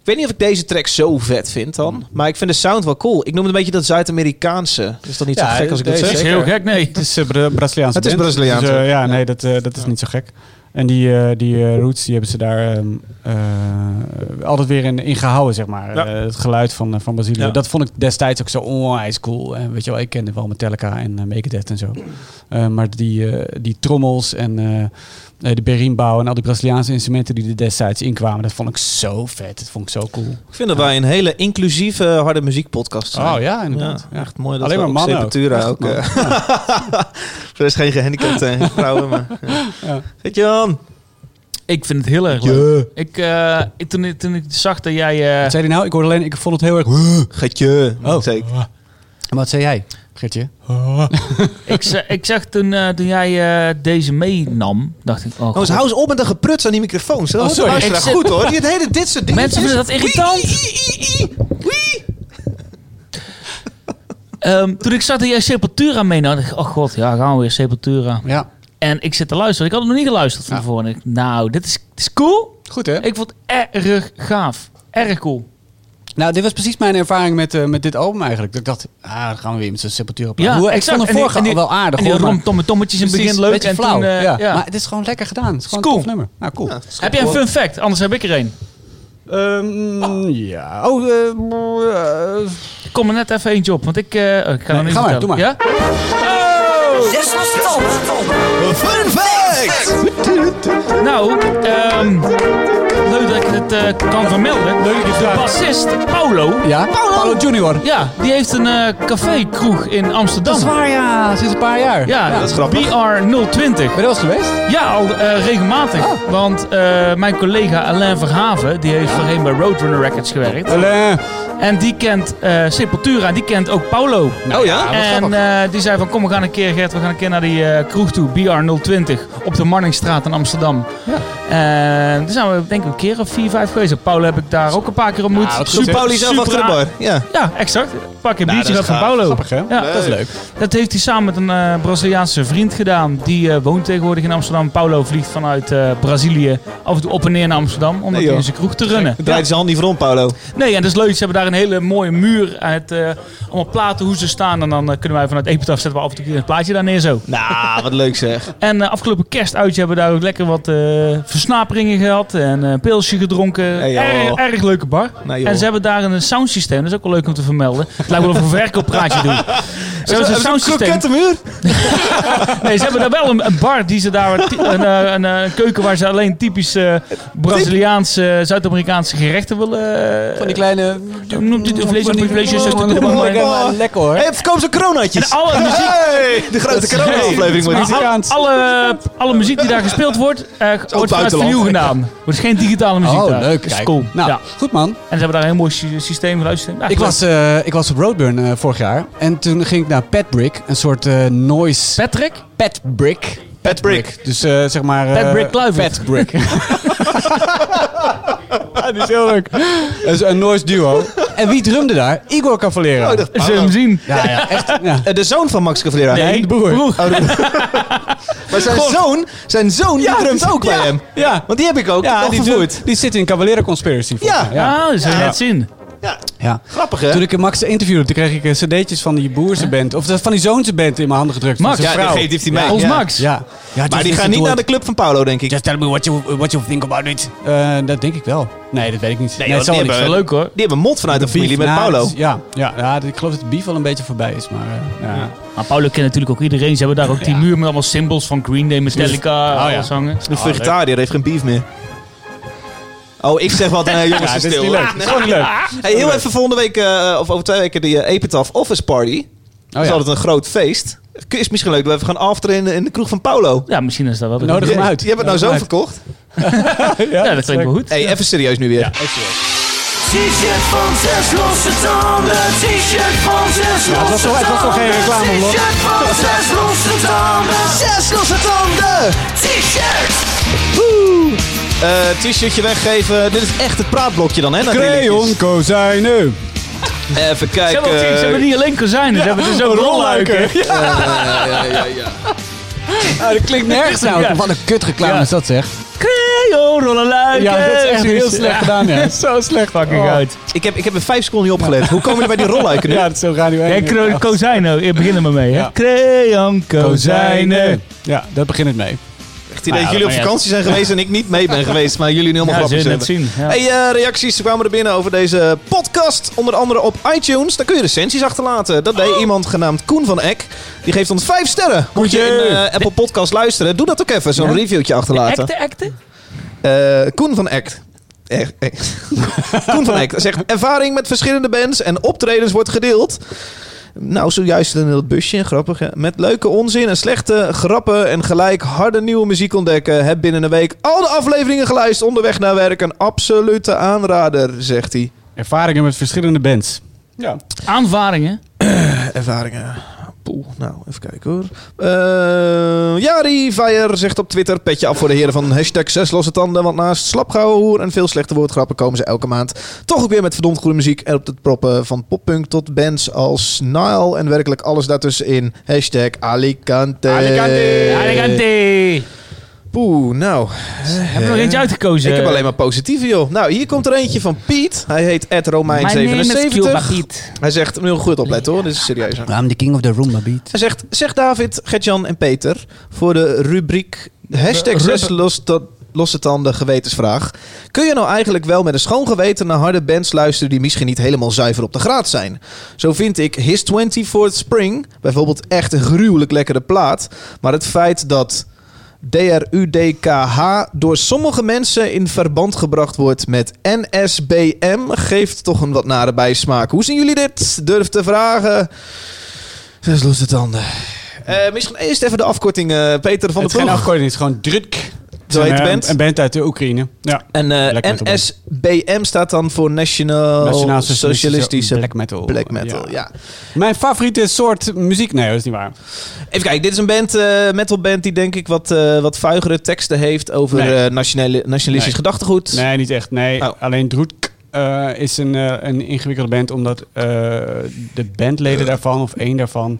[SPEAKER 5] Ik weet niet of ik deze track zo vet vind
[SPEAKER 1] Hmm.
[SPEAKER 5] dan. Maar ik vind de sound wel cool. Ik noem het een beetje dat Zuid-Amerikaanse. Dus dat niet
[SPEAKER 1] Ja,
[SPEAKER 5] zo gek als ik dat
[SPEAKER 1] deze
[SPEAKER 5] zeg.
[SPEAKER 2] Dat is heel gek, nee.
[SPEAKER 1] Het is eh, Bra- Braziliaanse
[SPEAKER 5] Het is
[SPEAKER 1] band.
[SPEAKER 5] Braziliaanse.
[SPEAKER 1] Dus, eh, ja, nee, dat, eh, dat is niet zo gek. En die, eh, die eh, roots die hebben ze daar ehm, eh, altijd weer in, in gehouden, zeg maar.
[SPEAKER 5] Ja.
[SPEAKER 1] Eh, het geluid van, eh, van Brazilië.
[SPEAKER 5] Ja.
[SPEAKER 1] Dat vond ik destijds ook zo onwijs cool. En weet je wel, ik kende wel Metallica en eh, Megadeth en zo. Eh, maar die, eh, die trommels en eh, eh, de berimbau en al die Braziliaanse instrumenten die er destijds inkwamen, dat vond ik zo vet. Dat vond ik zo cool.
[SPEAKER 5] Ik vind dat wij een hele inclusieve harde muziekpodcast zijn.
[SPEAKER 1] Oh ja, inderdaad.
[SPEAKER 5] Ja, echt mooi dat
[SPEAKER 1] Alleen
[SPEAKER 5] we
[SPEAKER 1] maar
[SPEAKER 5] ook
[SPEAKER 1] mannen ook.
[SPEAKER 5] Sepultura
[SPEAKER 1] Echt
[SPEAKER 5] ook.
[SPEAKER 1] mannen.
[SPEAKER 5] eh, Er is geen gehandicapte en geen vrouwen, maar... Ja.
[SPEAKER 1] Ja.
[SPEAKER 5] Zet je aan.
[SPEAKER 2] Ik vind het heel erg leuk. Ik, eh, ik, toen, ik- toen ik zag dat jij... eh,
[SPEAKER 1] Wat zei hij nou? Ik hoorde alleen, ik vond het heel erg... Maar
[SPEAKER 5] Getje.
[SPEAKER 1] Oh.
[SPEAKER 5] Zeker.
[SPEAKER 1] wat zei jij, Gertje?
[SPEAKER 2] ik, ze- ik zag toen, eh, toen jij eh, deze meenam, dacht ik... Oh,
[SPEAKER 5] Oh, dus
[SPEAKER 2] god.
[SPEAKER 5] hou eens op met een gepruts aan die microfoons. Dat
[SPEAKER 1] Oh,
[SPEAKER 5] hoort de
[SPEAKER 1] sorry.
[SPEAKER 5] luisteraar
[SPEAKER 2] Ik zit-
[SPEAKER 5] goed hoor. Die het hele dit soort dingen.
[SPEAKER 2] Mensen vinden dat irritant. Ehm, toen ik zag dat jij Sepultura meenam, dacht ik... Oh god, ja, gaan we weer Sepultura.
[SPEAKER 1] Ja,
[SPEAKER 2] En ik zit te luisteren. Ik had het nog niet geluisterd van
[SPEAKER 1] Ja.
[SPEAKER 2] tevoren. En ik, nou, dit is, dit is cool.
[SPEAKER 1] goed hè?
[SPEAKER 2] Ik vond het erg gaaf. Erg cool.
[SPEAKER 1] Nou, dit was precies mijn ervaring met, eh, met dit album eigenlijk. Dat ik dacht, ah, dan gaan we weer met zo'n sepultuur op.
[SPEAKER 2] Ja,
[SPEAKER 1] Hoe, ik
[SPEAKER 2] exact.
[SPEAKER 1] vond
[SPEAKER 2] En
[SPEAKER 1] de
[SPEAKER 2] die-
[SPEAKER 1] vorige
[SPEAKER 2] en die-
[SPEAKER 1] al wel aardig.
[SPEAKER 2] En die
[SPEAKER 1] hoor, maar
[SPEAKER 2] romtommetommetjes in het
[SPEAKER 1] precies,
[SPEAKER 2] begin leuk.
[SPEAKER 1] beetje
[SPEAKER 2] en
[SPEAKER 1] flauw.
[SPEAKER 2] toen... eh,
[SPEAKER 1] ja.
[SPEAKER 2] ja.
[SPEAKER 1] Maar het is gewoon lekker gedaan. Het is gewoon
[SPEAKER 2] Is
[SPEAKER 1] een
[SPEAKER 2] cool.
[SPEAKER 1] tof nummer. Nou, cool. Ja.
[SPEAKER 2] heb jij een fun fact? Anders heb ik er een.
[SPEAKER 1] ja. Oh, eh, eh,
[SPEAKER 2] Ik kom er net even eentje op, want ik, eh, oh, ik ga
[SPEAKER 1] Nee,
[SPEAKER 2] hem niet
[SPEAKER 1] ga maar,
[SPEAKER 2] vertellen.
[SPEAKER 1] doe maar.
[SPEAKER 2] Ja? Oh!
[SPEAKER 4] Yes, stop!
[SPEAKER 10] Fun fact!
[SPEAKER 2] Nou, ehm, leuk dat ik het eh, kan vermelden. Leuk dat De bassist Paulo,
[SPEAKER 1] ja. Paulo. Junior.
[SPEAKER 2] ja, die heeft een eh café-kroeg in Amsterdam.
[SPEAKER 1] Dat is waar, ja. Sinds een paar jaar.
[SPEAKER 2] Ja,
[SPEAKER 1] Ben
[SPEAKER 5] is grappig.
[SPEAKER 2] BR020.
[SPEAKER 1] je dat eens geweest?
[SPEAKER 2] Ja, al eh, regelmatig.
[SPEAKER 1] Oh.
[SPEAKER 2] Want eh, mijn collega Alain Verhaven, die heeft voorheen bij Roadrunner Records gewerkt.
[SPEAKER 1] Allee.
[SPEAKER 2] En die kent eh, Sepultura en die kent ook Paulo.
[SPEAKER 1] Nou,
[SPEAKER 5] Oh ja?
[SPEAKER 2] En eh, die zei van kom we gaan een keer Gert, we gaan een keer naar die eh, kroeg toe, BR020 op de Marnixstraat in Amsterdam.
[SPEAKER 1] Ja.
[SPEAKER 2] Eh, toen zijn we denk ik een keer of vier, vijf geweest. Paul heb ik daar ook een paar keer ontmoet.
[SPEAKER 5] Goed, Pauli zelf achter de
[SPEAKER 2] aardig.
[SPEAKER 5] bar. Ja.
[SPEAKER 2] Ja, exact. Pak een
[SPEAKER 5] dat
[SPEAKER 2] biertje dat
[SPEAKER 5] is
[SPEAKER 2] van
[SPEAKER 5] gaaf.
[SPEAKER 2] Paulo.
[SPEAKER 1] Grappig, hè?
[SPEAKER 2] Ja,
[SPEAKER 5] Dat is leuk.
[SPEAKER 2] dat heeft hij samen met een eh, Braziliaanse vriend gedaan. Die eh, woont tegenwoordig in Amsterdam. Paulo vliegt vanuit eh, Brazilië af en toe op en neer naar Amsterdam. Omdat
[SPEAKER 5] Nee,
[SPEAKER 2] hij
[SPEAKER 5] joh.
[SPEAKER 2] in zijn kroeg te runnen.
[SPEAKER 5] Het draait zijn hand niet voor om, Paolo.
[SPEAKER 2] Nee, en dat is leuk. Ze hebben daar een hele mooie muur uit eh, allemaal platen hoe ze staan. En dan eh, kunnen wij vanuit Epitaph zetten we af en toe een plaatje daar neer zo.
[SPEAKER 5] Nou, wat leuk zeg.
[SPEAKER 2] En eh, afgelopen kerstuitje hebben we daar ook lekker wat eh, versnaperingen gehad. En eh, een pilsje gedronken.
[SPEAKER 5] Nee, joh.
[SPEAKER 2] erg, erg leuke bar.
[SPEAKER 5] Nee, joh.
[SPEAKER 2] en ze hebben daar een soundsysteem. Dat is ook wel leuk om te vermelden. Het lijkt wel of we een verkooppraatje doen. Ze hebben een soundsysteem.
[SPEAKER 5] Eh, muur.
[SPEAKER 2] Nee, ze hebben daar wel een, een bar die ze daar. Een, eh, een, eh, keuken waar ze alleen typisch eh, Braziliaanse, eh, Zuid-Amerikaanse gerechten willen. eh,
[SPEAKER 1] Van die kleine...
[SPEAKER 2] Noemt dit een vleesje-
[SPEAKER 1] van die-
[SPEAKER 2] vleesjes-
[SPEAKER 1] van die-
[SPEAKER 2] Oh,
[SPEAKER 1] lekker,
[SPEAKER 5] oh.
[SPEAKER 1] Lekker hoor.
[SPEAKER 5] Hey, verkoop zo'n coronatjes.
[SPEAKER 2] En alle muziek-
[SPEAKER 5] Hey, de grote corona-aflevering wordt
[SPEAKER 1] Hey.
[SPEAKER 2] alle,
[SPEAKER 1] Mexicaans.
[SPEAKER 2] alle, alle muziek die daar gespeeld wordt, eh, wordt vanuit
[SPEAKER 5] buitenland.
[SPEAKER 2] vernieuw gedaan. Er is geen digitale muziek
[SPEAKER 1] Oh,
[SPEAKER 2] daar.
[SPEAKER 1] leuk.
[SPEAKER 2] Dat is
[SPEAKER 1] Kijk.
[SPEAKER 2] cool.
[SPEAKER 1] Nou,
[SPEAKER 2] Ja.
[SPEAKER 1] goed man.
[SPEAKER 2] En ze hebben daar een heel mooi sy- systeem, geluidssysteem. Ja,
[SPEAKER 1] Ik
[SPEAKER 2] leuk.
[SPEAKER 1] was, eh, ik was op Roadburn eh, vorig jaar. En toen ging ik naar Petbrick. Een soort eh, noise...
[SPEAKER 2] Patrick?
[SPEAKER 1] Petbrick.
[SPEAKER 5] Pat Brick.
[SPEAKER 1] Dus eh, zeg maar... eh,
[SPEAKER 2] Petbrick Kluivert.
[SPEAKER 1] Petbrick. Dat is heel leuk. Dat is een noise duo. En wie drumde daar? Igor
[SPEAKER 5] Oh,
[SPEAKER 1] Cavalera.
[SPEAKER 2] Zullen we hem zien?
[SPEAKER 1] Ja, Oh, ja, echt. Ja.
[SPEAKER 5] Eh, De zoon van Max Cavalera.
[SPEAKER 1] Nee, de broer.
[SPEAKER 5] Maar zijn zoon, zijn zoon die drumt ook bij hem.
[SPEAKER 1] Ja.
[SPEAKER 5] Want die heb ik ook
[SPEAKER 1] Ja,
[SPEAKER 5] al
[SPEAKER 1] die,
[SPEAKER 5] gevoerd.
[SPEAKER 1] doet- die zit in Cavalera Conspiracy. volgens mij.
[SPEAKER 2] Ja, dat zullen we
[SPEAKER 5] Ja.
[SPEAKER 2] net zien.
[SPEAKER 1] ja.
[SPEAKER 5] Grappig, hè?
[SPEAKER 1] Toen ik Max interviewde, toen kreeg ik eh, cd'tjes van die boersenband. Of van die zoonsenband in mijn handen gedrukt.
[SPEAKER 2] Max.
[SPEAKER 1] Van zijn
[SPEAKER 5] ja, die
[SPEAKER 1] vrouw.
[SPEAKER 5] geeft heeft hij mee.
[SPEAKER 2] Ons
[SPEAKER 5] ja.
[SPEAKER 2] Max.
[SPEAKER 1] Ja. ja
[SPEAKER 5] Maar die
[SPEAKER 1] gaan
[SPEAKER 5] gaan niet naar de club van Paolo, denk ik.
[SPEAKER 1] Just tell me what you, what you think about it. Eh, dat denk ik wel. Nee, dat weet ik niet.
[SPEAKER 5] joh,
[SPEAKER 1] dat zal
[SPEAKER 5] die
[SPEAKER 1] niet.
[SPEAKER 5] hebben-
[SPEAKER 2] Wel leuk hoor.
[SPEAKER 5] Die hebben mot vanuit de, familie met
[SPEAKER 1] Beef na-
[SPEAKER 5] Paolo.
[SPEAKER 1] Ja, ja, ja, ik geloof dat de beef al een beetje voorbij is. Maar, eh, ja.
[SPEAKER 2] Maar Paulo kent natuurlijk ook iedereen. Ze hebben daar ook die muur met allemaal symbols van Green Day, Metallica,
[SPEAKER 1] Oh, ja.
[SPEAKER 2] alles hangen. Ah,
[SPEAKER 5] De vegetariër heeft geen beef meer. Oh, ik zeg wat. Nee, jongens,
[SPEAKER 1] dit is
[SPEAKER 5] stil. Ah,
[SPEAKER 1] niet leuk. Dit is gewoon niet leuk.
[SPEAKER 5] Hey, heel even volgende week, eh, of over twee weken, die eh, Epitaph Office Party. dat is
[SPEAKER 1] Oh, ja.
[SPEAKER 5] altijd een groot feest. Is misschien leuk dat we even gaan afteren in, de- in de kroeg van Paolo.
[SPEAKER 2] Ja, misschien is dat wel de
[SPEAKER 1] Nodig
[SPEAKER 2] Ja,
[SPEAKER 1] hem uit.
[SPEAKER 5] Je hebt het nou zo
[SPEAKER 1] Nodig hem
[SPEAKER 5] verkocht.
[SPEAKER 1] uit.
[SPEAKER 2] Ja, dat klinkt wel goed.
[SPEAKER 5] Hey, even serieus nu weer.
[SPEAKER 4] T-shirt van zes losse tanden. T-shirt van zes losse tanden.
[SPEAKER 1] het was wel- het was wel geen reclame, hoor.
[SPEAKER 4] T-shirt van zes losse tanden.
[SPEAKER 5] Zes losse tanden!
[SPEAKER 4] T-shirt.
[SPEAKER 5] Woe! Eh, T-shirtje weggeven. Dit is echt het praatblokje dan, hè? na drie liedjes.
[SPEAKER 1] Creon Kozijnen.
[SPEAKER 5] Even
[SPEAKER 2] Ze
[SPEAKER 5] kijken.
[SPEAKER 2] hebben,
[SPEAKER 1] eh,
[SPEAKER 2] ook- ze hebben niet alleen kozijnen, ze hebben dus ook
[SPEAKER 1] oh,
[SPEAKER 2] rolluiken.
[SPEAKER 5] Eh,
[SPEAKER 1] Ah, dat klinkt nergens nou.
[SPEAKER 2] Ja.
[SPEAKER 1] Wat een kut reclame
[SPEAKER 2] Ja.
[SPEAKER 1] is dat zeg.
[SPEAKER 2] Creo, rolluiken.
[SPEAKER 1] Ja, dat is echt heel slecht gedaan. Ja. Oh.
[SPEAKER 2] Zo slecht fucking uit.
[SPEAKER 5] Ik heb, ik heb in vijf seconden niet opgelet. Hoe komen jullie bij die rolluiken nu?
[SPEAKER 1] Ja, dat is zo radio 1.
[SPEAKER 2] En cro- kozijnen, hier beginnen we mee.
[SPEAKER 1] Ja.
[SPEAKER 2] hè? Creon kozijnen.
[SPEAKER 1] Ja, dat begint het mee.
[SPEAKER 5] Echt idee Nou dat jullie op vakantie zijn geweest en ik niet mee ben geweest. Maar jullie nu allemaal
[SPEAKER 2] Ja,
[SPEAKER 5] grappig
[SPEAKER 2] zullen
[SPEAKER 5] zijn.
[SPEAKER 2] het zien. Ja.
[SPEAKER 5] Hey, eh, reacties kwamen er binnen over deze podcast. Onder andere op iTunes. Daar kun je recensies achterlaten. Dat
[SPEAKER 2] Oh.
[SPEAKER 5] deed iemand genaamd Koen van Eck. Die geeft ons vijf sterren. Moet je in eh, Apple Podcast luisteren. Doe dat ook even. Zo'n reviewtje achterlaten.
[SPEAKER 2] Acte, acte.
[SPEAKER 5] Eh, Koen van Act. Echt, echt. Koen van Act zegt: ervaring met verschillende bands en optredens wordt gedeeld. Nou, zojuist een heel busje, grappig. hè? Met leuke onzin en slechte grappen en gelijk harde nieuwe muziek ontdekken. Heb binnen een week al de afleveringen geluisterd onderweg naar werk. Een absolute aanrader, zegt hij.
[SPEAKER 1] Ervaringen met verschillende bands. Ja.
[SPEAKER 2] Aanvaringen.
[SPEAKER 5] Ervaringen. Poeh, nou, even kijken hoor. Eh, Jari Fire zegt op Twitter... petje af voor de heren van hashtag zes losse tanden... want naast slapgehouden en veel slechte woordgrappen... komen ze elke maand toch ook weer met verdomd goede muziek... en op het proppen van poppunk tot bands als Nile... en werkelijk alles daartussenin. Hashtag Alicante. Eh,
[SPEAKER 1] Alicante.
[SPEAKER 2] Alicante.
[SPEAKER 5] Poeh, nou...
[SPEAKER 2] Heb je nog eentje dus, eh, uitgekozen?
[SPEAKER 5] eh, Ik heb alleen maar positieve, joh. Nou, hier komt er eentje van Piet. Hij heet
[SPEAKER 2] Mijn name is Cuba
[SPEAKER 5] Romein77.
[SPEAKER 2] Piet.
[SPEAKER 5] Hij zegt, moet je goed opletten hoor, dit is serieus. hè.
[SPEAKER 1] I'm the king of the room, my beat.
[SPEAKER 5] Hij zegt, zeg David, Gertjan en Peter voor de rubriek
[SPEAKER 2] Ru-
[SPEAKER 5] hashtag 6 los ta- losse tanden gewetensvraag. Kun je nou eigenlijk wel met een schoon geweten naar harde bands luisteren die misschien niet helemaal zuiver op de graad zijn? Zo vind ik His 24th Spring bijvoorbeeld echt een gruwelijk lekkere plaat. Maar het feit dat DRUDKH door sommige mensen in verband gebracht wordt met NSBM geeft toch een wat nare bijsmaak. Hoe zien jullie dit? Durf te vragen. Zes losse tanden. Eh, misschien eerst even de afkorting, eh, Peter van
[SPEAKER 1] Het
[SPEAKER 5] de
[SPEAKER 1] is geen
[SPEAKER 5] Ploeg.
[SPEAKER 1] afkorting, het is gewoon druk.
[SPEAKER 5] Zo heet de
[SPEAKER 1] Eh,
[SPEAKER 5] band.
[SPEAKER 1] Een band uit de Oekraïne. Ja.
[SPEAKER 5] En eh,
[SPEAKER 1] Black metal
[SPEAKER 5] NSBM staat dan voor National,
[SPEAKER 1] Nationaal
[SPEAKER 5] Socialistische
[SPEAKER 1] Oh, Black Metal.
[SPEAKER 5] Black Metal. Ja.
[SPEAKER 1] Mijn favoriete soort muziek. Nee, dat is niet waar.
[SPEAKER 5] Even kijken, dit is een band, eh metalband die denk ik wat, eh, wat vuigere teksten heeft over
[SPEAKER 1] Nee.
[SPEAKER 5] eh, nationale, nationalistisch
[SPEAKER 1] Nee.
[SPEAKER 5] gedachtegoed.
[SPEAKER 1] Nee, niet echt. Nee,
[SPEAKER 5] Oh.
[SPEAKER 1] alleen Droetk eh, is een, eh, een ingewikkelde band, omdat eh, de bandleden daarvan, of één daarvan,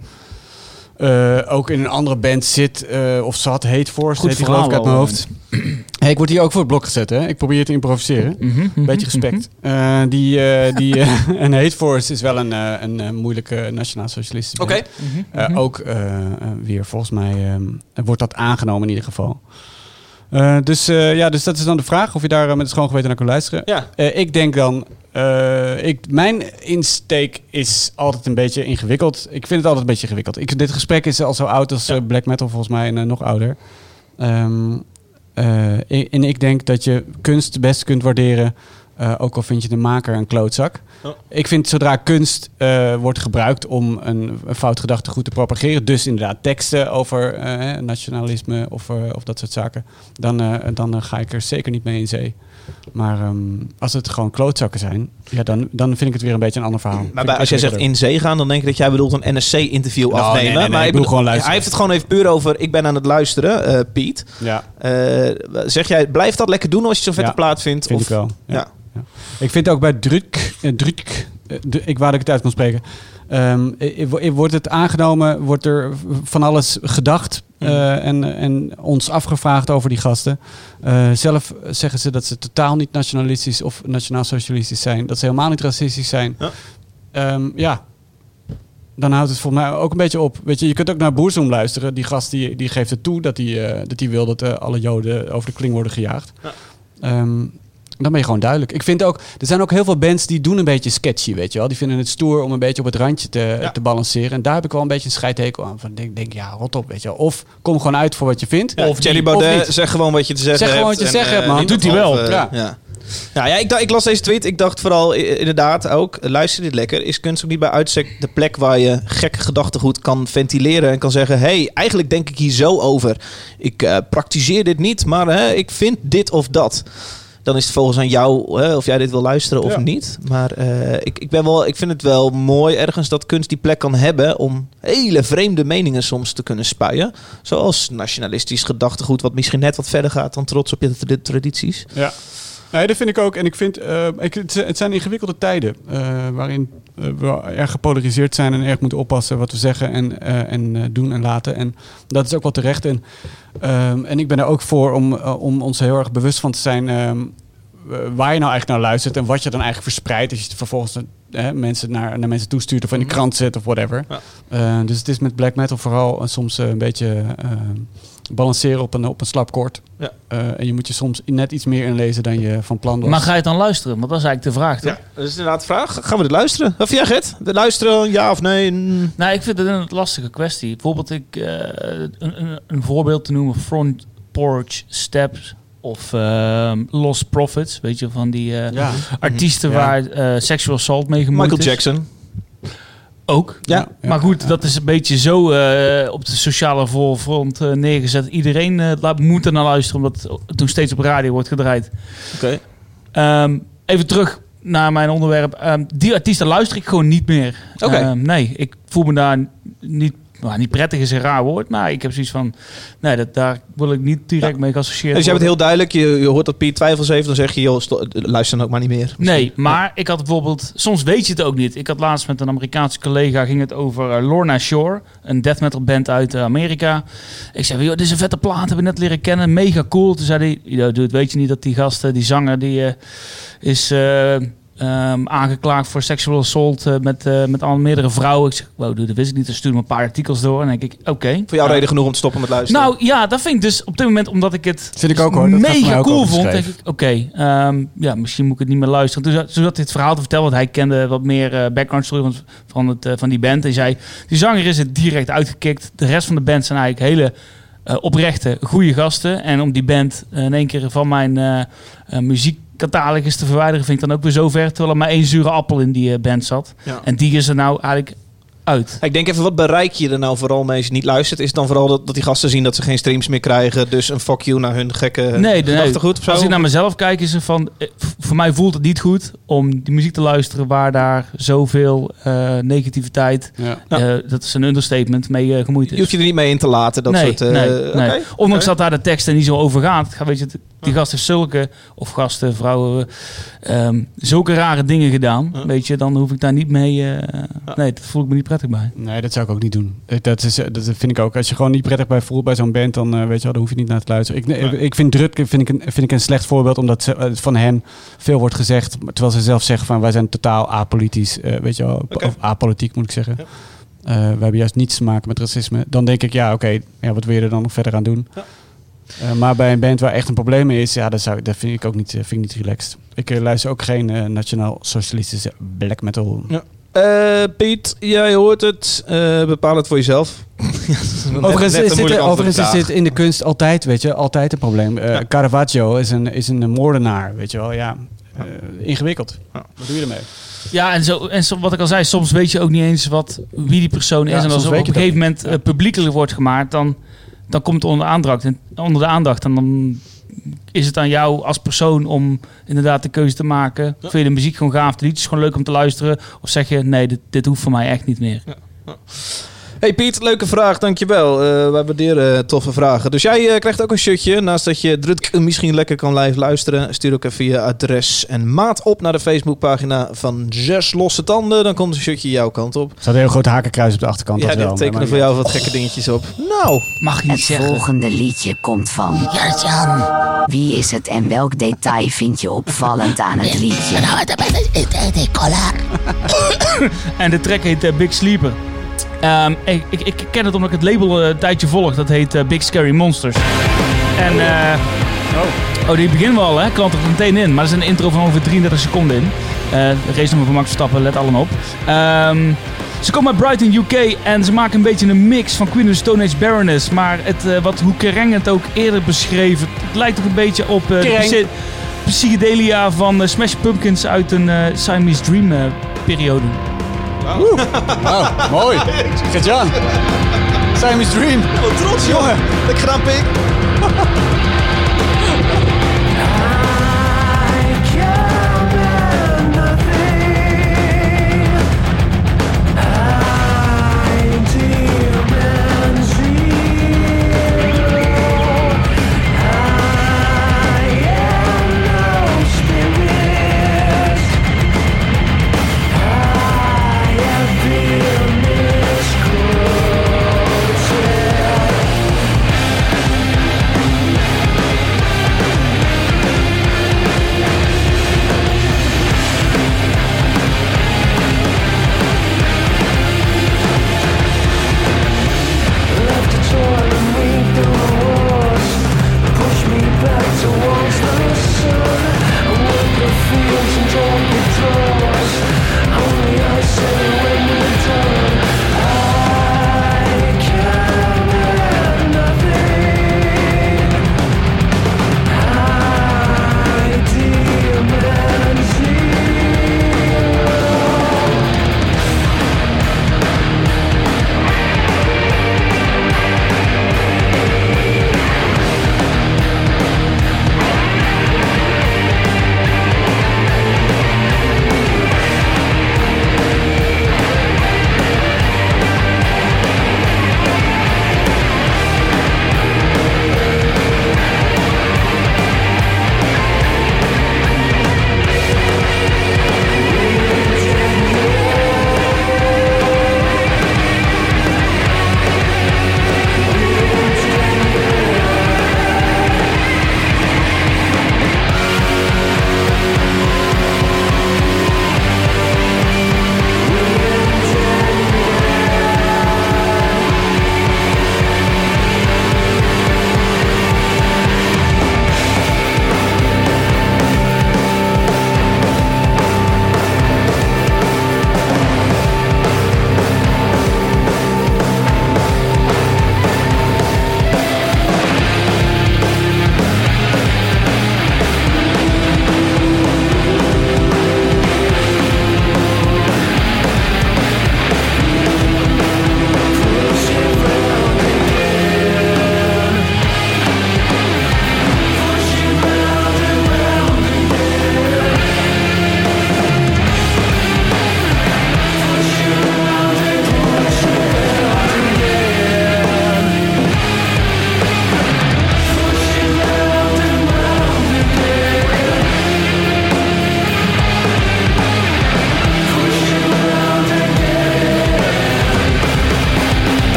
[SPEAKER 1] eh, ook in een andere band zit eh, of zat, heet voor.
[SPEAKER 2] Goed
[SPEAKER 1] Heet die geloof ik uit
[SPEAKER 2] verhaal
[SPEAKER 1] mijn
[SPEAKER 2] wel,
[SPEAKER 1] hoofd. Hey, ik word hier ook voor het blok gezet, hè? Ik probeer te improviseren.
[SPEAKER 2] Mhm,
[SPEAKER 1] Beetje respect. Eh, die, eh, die, eh, en Hate Force is wel een, eh, een, eh, moeilijke nationaal-socialistische band.
[SPEAKER 5] Oké.
[SPEAKER 2] Mhm.
[SPEAKER 1] Eh, ook eh, eh, weer, volgens mij ehm, wordt dat aangenomen in ieder geval. Eh, dus, eh, ja, dus dat is dan de vraag of je daar eh, met het schoon geweten naar kan luisteren.
[SPEAKER 5] Ja.
[SPEAKER 1] Eh, ik denk dan, eh, ik, mijn insteek is altijd een beetje ingewikkeld. Ik vind het altijd een beetje ingewikkeld. Ik, dit gesprek is al zo oud als eh, black metal volgens mij en eh, nog ouder. Ehm, eh, i- en ik denk dat je kunst best kunt waarderen, eh, ook al vind je de maker een klootzak.
[SPEAKER 5] Oh.
[SPEAKER 1] Ik vind zodra kunst eh, wordt gebruikt om een, een fout gedachtegoed te propageren, dus inderdaad teksten over eh, hè, nationalisme of, eh, of dat soort zaken, dan, eh, dan eh, ga ik er zeker niet mee in zee. Maar ehm, als het gewoon klootzakken zijn, ja, dan, dan vind ik het weer een beetje een ander verhaal. Vind
[SPEAKER 5] Maar
[SPEAKER 1] ik
[SPEAKER 5] bij- als jij zegt
[SPEAKER 1] ingewikkelder.
[SPEAKER 5] in zee gaan, dan denk ik dat jij bedoelt een NSC-interview
[SPEAKER 1] Nou,
[SPEAKER 5] afnemen.
[SPEAKER 1] nee, nee, nee,
[SPEAKER 5] maar
[SPEAKER 1] ik bedoel gewoon luisteren.
[SPEAKER 5] Hij heeft het gewoon even puur over, ik ben aan het luisteren, eh, Piet.
[SPEAKER 1] Ja,
[SPEAKER 5] Eh, zeg jij, blijf dat lekker doen als je zo'n vette
[SPEAKER 1] Ja,
[SPEAKER 5] plaat vindt?
[SPEAKER 1] vind
[SPEAKER 5] of,
[SPEAKER 1] ik wel.
[SPEAKER 5] Ja.
[SPEAKER 1] Ja. Ik vind ook bij druk, eh, druk eh, d- ik wou dat ik het uit kon spreken. Ehm, eh, eh, wordt het aangenomen, wordt er v- van alles gedacht eh, en, en ons afgevraagd over die gasten. Eh, zelf zeggen ze dat ze totaal niet nationalistisch of nationaal-socialistisch zijn. Dat ze helemaal niet racistisch zijn.
[SPEAKER 5] Ja.
[SPEAKER 1] Ehm, ja. Dan houdt het volgens mij ook een beetje op. Weet je, je kunt ook naar Boerzoom luisteren. Die gast die, die geeft het toe dat hij eh, dat hij wil dat eh, alle Joden over de kling worden gejaagd. Ehm, dan ben je gewoon duidelijk. Ik vind ook, er zijn ook heel veel bands die doen een beetje sketchy, weet je wel. Die vinden het stoer om een beetje op het randje te, te balanceren. En daar heb ik wel een beetje een scheidhekel aan. Van, denk, denk, ja, rot op, weet je wel. Of kom gewoon uit voor wat je vindt.
[SPEAKER 5] Of Thierry
[SPEAKER 1] niet.
[SPEAKER 5] Baudet, zeg gewoon wat je te zeggen
[SPEAKER 1] Zeg
[SPEAKER 5] hebt.
[SPEAKER 1] gewoon wat je te zeggen
[SPEAKER 5] eh,
[SPEAKER 1] hebt, man.
[SPEAKER 5] niet
[SPEAKER 2] Doet
[SPEAKER 5] dat
[SPEAKER 2] hij wel.
[SPEAKER 5] halve-
[SPEAKER 1] Ja.
[SPEAKER 5] ja. Nou ja, ik, dacht- ik las deze tweet. Ik dacht vooral i- inderdaad ook, eh, luister dit lekker. Is kunst ook niet bij uitstek de plek waar je gekke gedachtegoed kan ventileren en kan zeggen, hey, eigenlijk denk ik hier zo over. Ik eh, praktiseer dit niet, maar hè, ik vind dit of dat. Dan is het volgens aan jou hè, of jij dit wil luisteren of
[SPEAKER 1] Ja.
[SPEAKER 5] niet. Maar eh, ik, ik, ben wel, ik vind het wel mooi ergens dat kunst die plek kan hebben om hele vreemde meningen soms te kunnen spuien. Zoals nationalistisch gedachtegoed, wat misschien net wat verder gaat dan trots op je tra- tradities.
[SPEAKER 1] Ja. Nee, dat vind ik ook. En ik vind, eh, ik, het het zijn ingewikkelde tijden eh, waarin eh, we erg gepolariseerd zijn en erg moeten oppassen wat we zeggen en, eh, en eh, doen en laten. En dat is ook wel terecht. En, ehm, en ik ben er ook voor om, eh, om ons heel erg bewust van te zijn ehm, eh, waar je nou eigenlijk naar luistert en wat je dan eigenlijk verspreidt als je het vervolgens eh, mensen naar, naar mensen toestuurt of in de krant zet of whatever.
[SPEAKER 5] Mhm. Ja.
[SPEAKER 1] Eh, dus het is met black metal vooral eh, soms eh, een beetje eh, balanceren op een, op een slap koord.
[SPEAKER 5] Ja.
[SPEAKER 1] Eh, en je moet je soms net iets meer inlezen dan je van plan was.
[SPEAKER 2] Maar ga je het dan luisteren? Want dat is eigenlijk de vraag, toch?
[SPEAKER 5] Dat is inderdaad de vraag. Gaan we dit luisteren? Of ja, Gert? De luisteren, ja of nee? Mm.
[SPEAKER 2] Nou, ik vind het een lastige kwestie. Bijvoorbeeld, ik, eh, een, een, een voorbeeld te noemen: Front Porch Steps of ehm, Lost Profits. Weet je, van die eh,
[SPEAKER 1] ja.
[SPEAKER 2] artiesten
[SPEAKER 1] Ja.
[SPEAKER 2] waar eh, sexual assault mee gemoeid
[SPEAKER 5] Michael
[SPEAKER 2] is.
[SPEAKER 5] Jackson.
[SPEAKER 2] Ook.
[SPEAKER 5] Ja.
[SPEAKER 2] Maar goed, dat is een beetje zo eh, op de sociale voorfront eh, neergezet. Iedereen eh, laat, moet er naar luisteren, omdat het toen steeds op radio wordt gedraaid.
[SPEAKER 5] Oké.
[SPEAKER 2] Ehm, even terug naar mijn onderwerp. Ehm, die artiesten luister ik gewoon niet meer.
[SPEAKER 5] Oké.
[SPEAKER 2] Ehm, nee, ik voel me daar niet, nou, niet prettig is een raar woord, maar ik heb zoiets van, nee, dat, daar wil ik niet direct mee geassocieerd
[SPEAKER 5] Dus jij bent
[SPEAKER 2] worden.
[SPEAKER 5] heel duidelijk. Je, je hoort dat Piet twijfels heeft. Dan zeg je, joh, sto- luister dan ook maar niet meer.
[SPEAKER 2] Nee, maar ik had bijvoorbeeld, soms weet je het ook niet. Ik had laatst met een Amerikaanse collega, ging het over eh, Lorna Shore, een death metal band uit eh, Amerika. Ik zei, van, joh, dit is een vette plaat, hebben we net leren kennen, mega cool. Toen zei hij, "Ja, dude, weet je niet dat die gasten, die zanger, die eh, is eh, ehm, aangeklaagd voor sexual assault eh, met, eh, met al meerdere vrouwen. Ik zeg, wow, dude, dat wist ik niet. Dus stuurde me een paar artikels door en dan denk ik, oké.
[SPEAKER 5] Voor jou
[SPEAKER 2] Ja.
[SPEAKER 5] reden genoeg om te stoppen met luisteren.
[SPEAKER 2] Nou ja, dat vind ik dus op dit moment, omdat ik het
[SPEAKER 1] Vind ik ook, hoor. Dat gaat mij
[SPEAKER 2] mega
[SPEAKER 1] ook
[SPEAKER 2] cool
[SPEAKER 1] over
[SPEAKER 2] vond. Denk
[SPEAKER 1] schreef.
[SPEAKER 2] ik, oké, ehm, ja, misschien moet ik het niet meer luisteren. Toen, zat- toen zat hij het verhaal te vertellen, want hij kende wat meer eh, background story van, van, het, eh, van die band. Hij zei, die zanger is het direct uitgekikt. De rest van de band zijn eigenlijk hele eh, oprechte, goede gasten. En om die band eh, in één keer van mijn eh eh, muziekcatalogus te verwijderen, vind ik dan ook weer zo ver. Terwijl er maar één zure appel in die eh, band zat.
[SPEAKER 5] Ja.
[SPEAKER 2] En die is er nou eigenlijk uit.
[SPEAKER 5] Ik denk even, wat bereik je er nou vooral mee als je niet luistert? Is het dan vooral dat, dat die gasten zien dat ze geen streams meer krijgen? Dus een fuck you naar hun gekke
[SPEAKER 2] Nee, nee.
[SPEAKER 5] gedachtegoed of zo?
[SPEAKER 2] Als nou ik naar mezelf kijk, is het van... eh, v- Voor mij voelt het niet goed om die muziek te luisteren waar daar zoveel eh, negativiteit...
[SPEAKER 1] Ja.
[SPEAKER 2] eh, dat is een understatement, mee eh, gemoeid is.
[SPEAKER 5] Je hoeft je er niet mee in te laten, dat
[SPEAKER 2] nee,
[SPEAKER 5] soort... eh,
[SPEAKER 2] nee,
[SPEAKER 5] oké.
[SPEAKER 2] nee. Ondanks
[SPEAKER 5] oké.
[SPEAKER 2] dat daar de tekst er niet zo over gaat. Ga- Weet je, die gast heeft zulke, of gasten, vrouwen, ehm, zulke rare dingen gedaan.
[SPEAKER 5] Ja.
[SPEAKER 2] Weet je, dan hoef ik daar niet mee... eh, Nee, dat voel ik me niet prettig bij.
[SPEAKER 1] Nee, dat zou ik ook niet doen. Eh, Dat, is, eh, dat vind ik ook. Als je gewoon niet prettig bij voelt bij zo'n band, dan eh, weet je wel, dan hoef je niet naar te luisteren. Ik, nee,
[SPEAKER 5] Nee.
[SPEAKER 1] ik vind Drutke vind ik een, vind ik een slecht voorbeeld, omdat ze, eh, van hen veel wordt gezegd, maar terwijl ze zelf zeggen van wij zijn totaal apolitisch, eh, weet je wel, of apolitiek moet ik zeggen. Eh, we hebben juist niets te maken met racisme. Dan denk ik, ja, oké, ja, wat wil je er dan nog verder aan doen? Eh, maar bij een band waar echt een probleem mee is, ja, dat, zou, dat vind ik ook niet, eh, vind ik niet relaxed. Ik eh, luister ook geen eh, nationaal-socialistische black metal.
[SPEAKER 5] Eh, Piet, jij hoort het. Eh, bepaal het voor jezelf.
[SPEAKER 1] Overigens,
[SPEAKER 5] Net- net een
[SPEAKER 1] is, dit,
[SPEAKER 5] moeilijk
[SPEAKER 1] overigens is
[SPEAKER 5] antwoord
[SPEAKER 1] dit in de kunst altijd, weet je, altijd een probleem. Eh, Caravaggio is een, is een moordenaar, weet je wel, ja. Eh, ingewikkeld.
[SPEAKER 5] Ja.
[SPEAKER 1] Wat doe je ermee?
[SPEAKER 2] Ja, en, zo, en zo, wat ik al zei, soms weet je ook niet eens wat, wie die persoon is.
[SPEAKER 1] Ja,
[SPEAKER 2] en
[SPEAKER 1] soms
[SPEAKER 2] als er op
[SPEAKER 1] weet
[SPEAKER 2] een
[SPEAKER 1] je dat
[SPEAKER 2] gegeven moment
[SPEAKER 1] Ja.
[SPEAKER 2] eh, publiekelijk wordt gemaakt, dan, dan komt het onder, aandacht, en, onder de aandacht. En dan is het aan jou als persoon om inderdaad de keuze te maken. Vind je de muziek gewoon gaaf, de liedjes gewoon leuk om te luisteren? Of zeg je, nee, dit, dit hoeft voor mij echt niet meer.
[SPEAKER 5] Hey Piet, leuke vraag, dankjewel. Eh wij waarderen eh, toffe vragen. Dus jij eh, krijgt ook een shirtje. Naast dat je druk misschien lekker kan live luisteren, stuur ook even je adres en maat op naar de Facebookpagina van Zes Losse Tanden. Dan komt een shirtje jouw kant op.
[SPEAKER 1] Er staat een heel groot hakenkruis op de achterkant.
[SPEAKER 5] ja,
[SPEAKER 1] dat wel, Oh.
[SPEAKER 5] dit tekenen
[SPEAKER 1] maar-
[SPEAKER 5] voor jou wat gekke dingetjes op. Nou,
[SPEAKER 2] Mag je niet
[SPEAKER 7] Het
[SPEAKER 2] zeggen.
[SPEAKER 7] volgende liedje komt van...
[SPEAKER 11] Jan,
[SPEAKER 7] Wie is het en welk detail vind je opvallend aan het liedje?
[SPEAKER 11] nou, dat is het de cola.
[SPEAKER 2] En de track heet eh, Big Sleeper. Ehm, ik, ik, ik ken het omdat ik het label eh, een tijdje volg. Dat heet eh, Big Scary Monsters. En eh, oh. die beginnen we al, hè? Klant er meteen in. Maar er is een intro van ongeveer 33 seconden in. Eh race nummer van Max Verstappen, let allemaal op. Ehm, ze komen uit Brighton, UK en ze maken een beetje een mix van Queen of the Stone Age Baroness. Maar het, eh, wat hoe Kerrang het ook eerder beschreef, het lijkt ook een beetje op eh, de
[SPEAKER 12] Kerrang.
[SPEAKER 2] psy- psychedelia van eh, Smash Pumpkins uit een eh, Siamese Dream eh, periode.
[SPEAKER 12] Oh, mooi. Zet Jan. Simon's Dream.
[SPEAKER 5] wat trots jongen. Ik grap ik.
[SPEAKER 11] Yeah.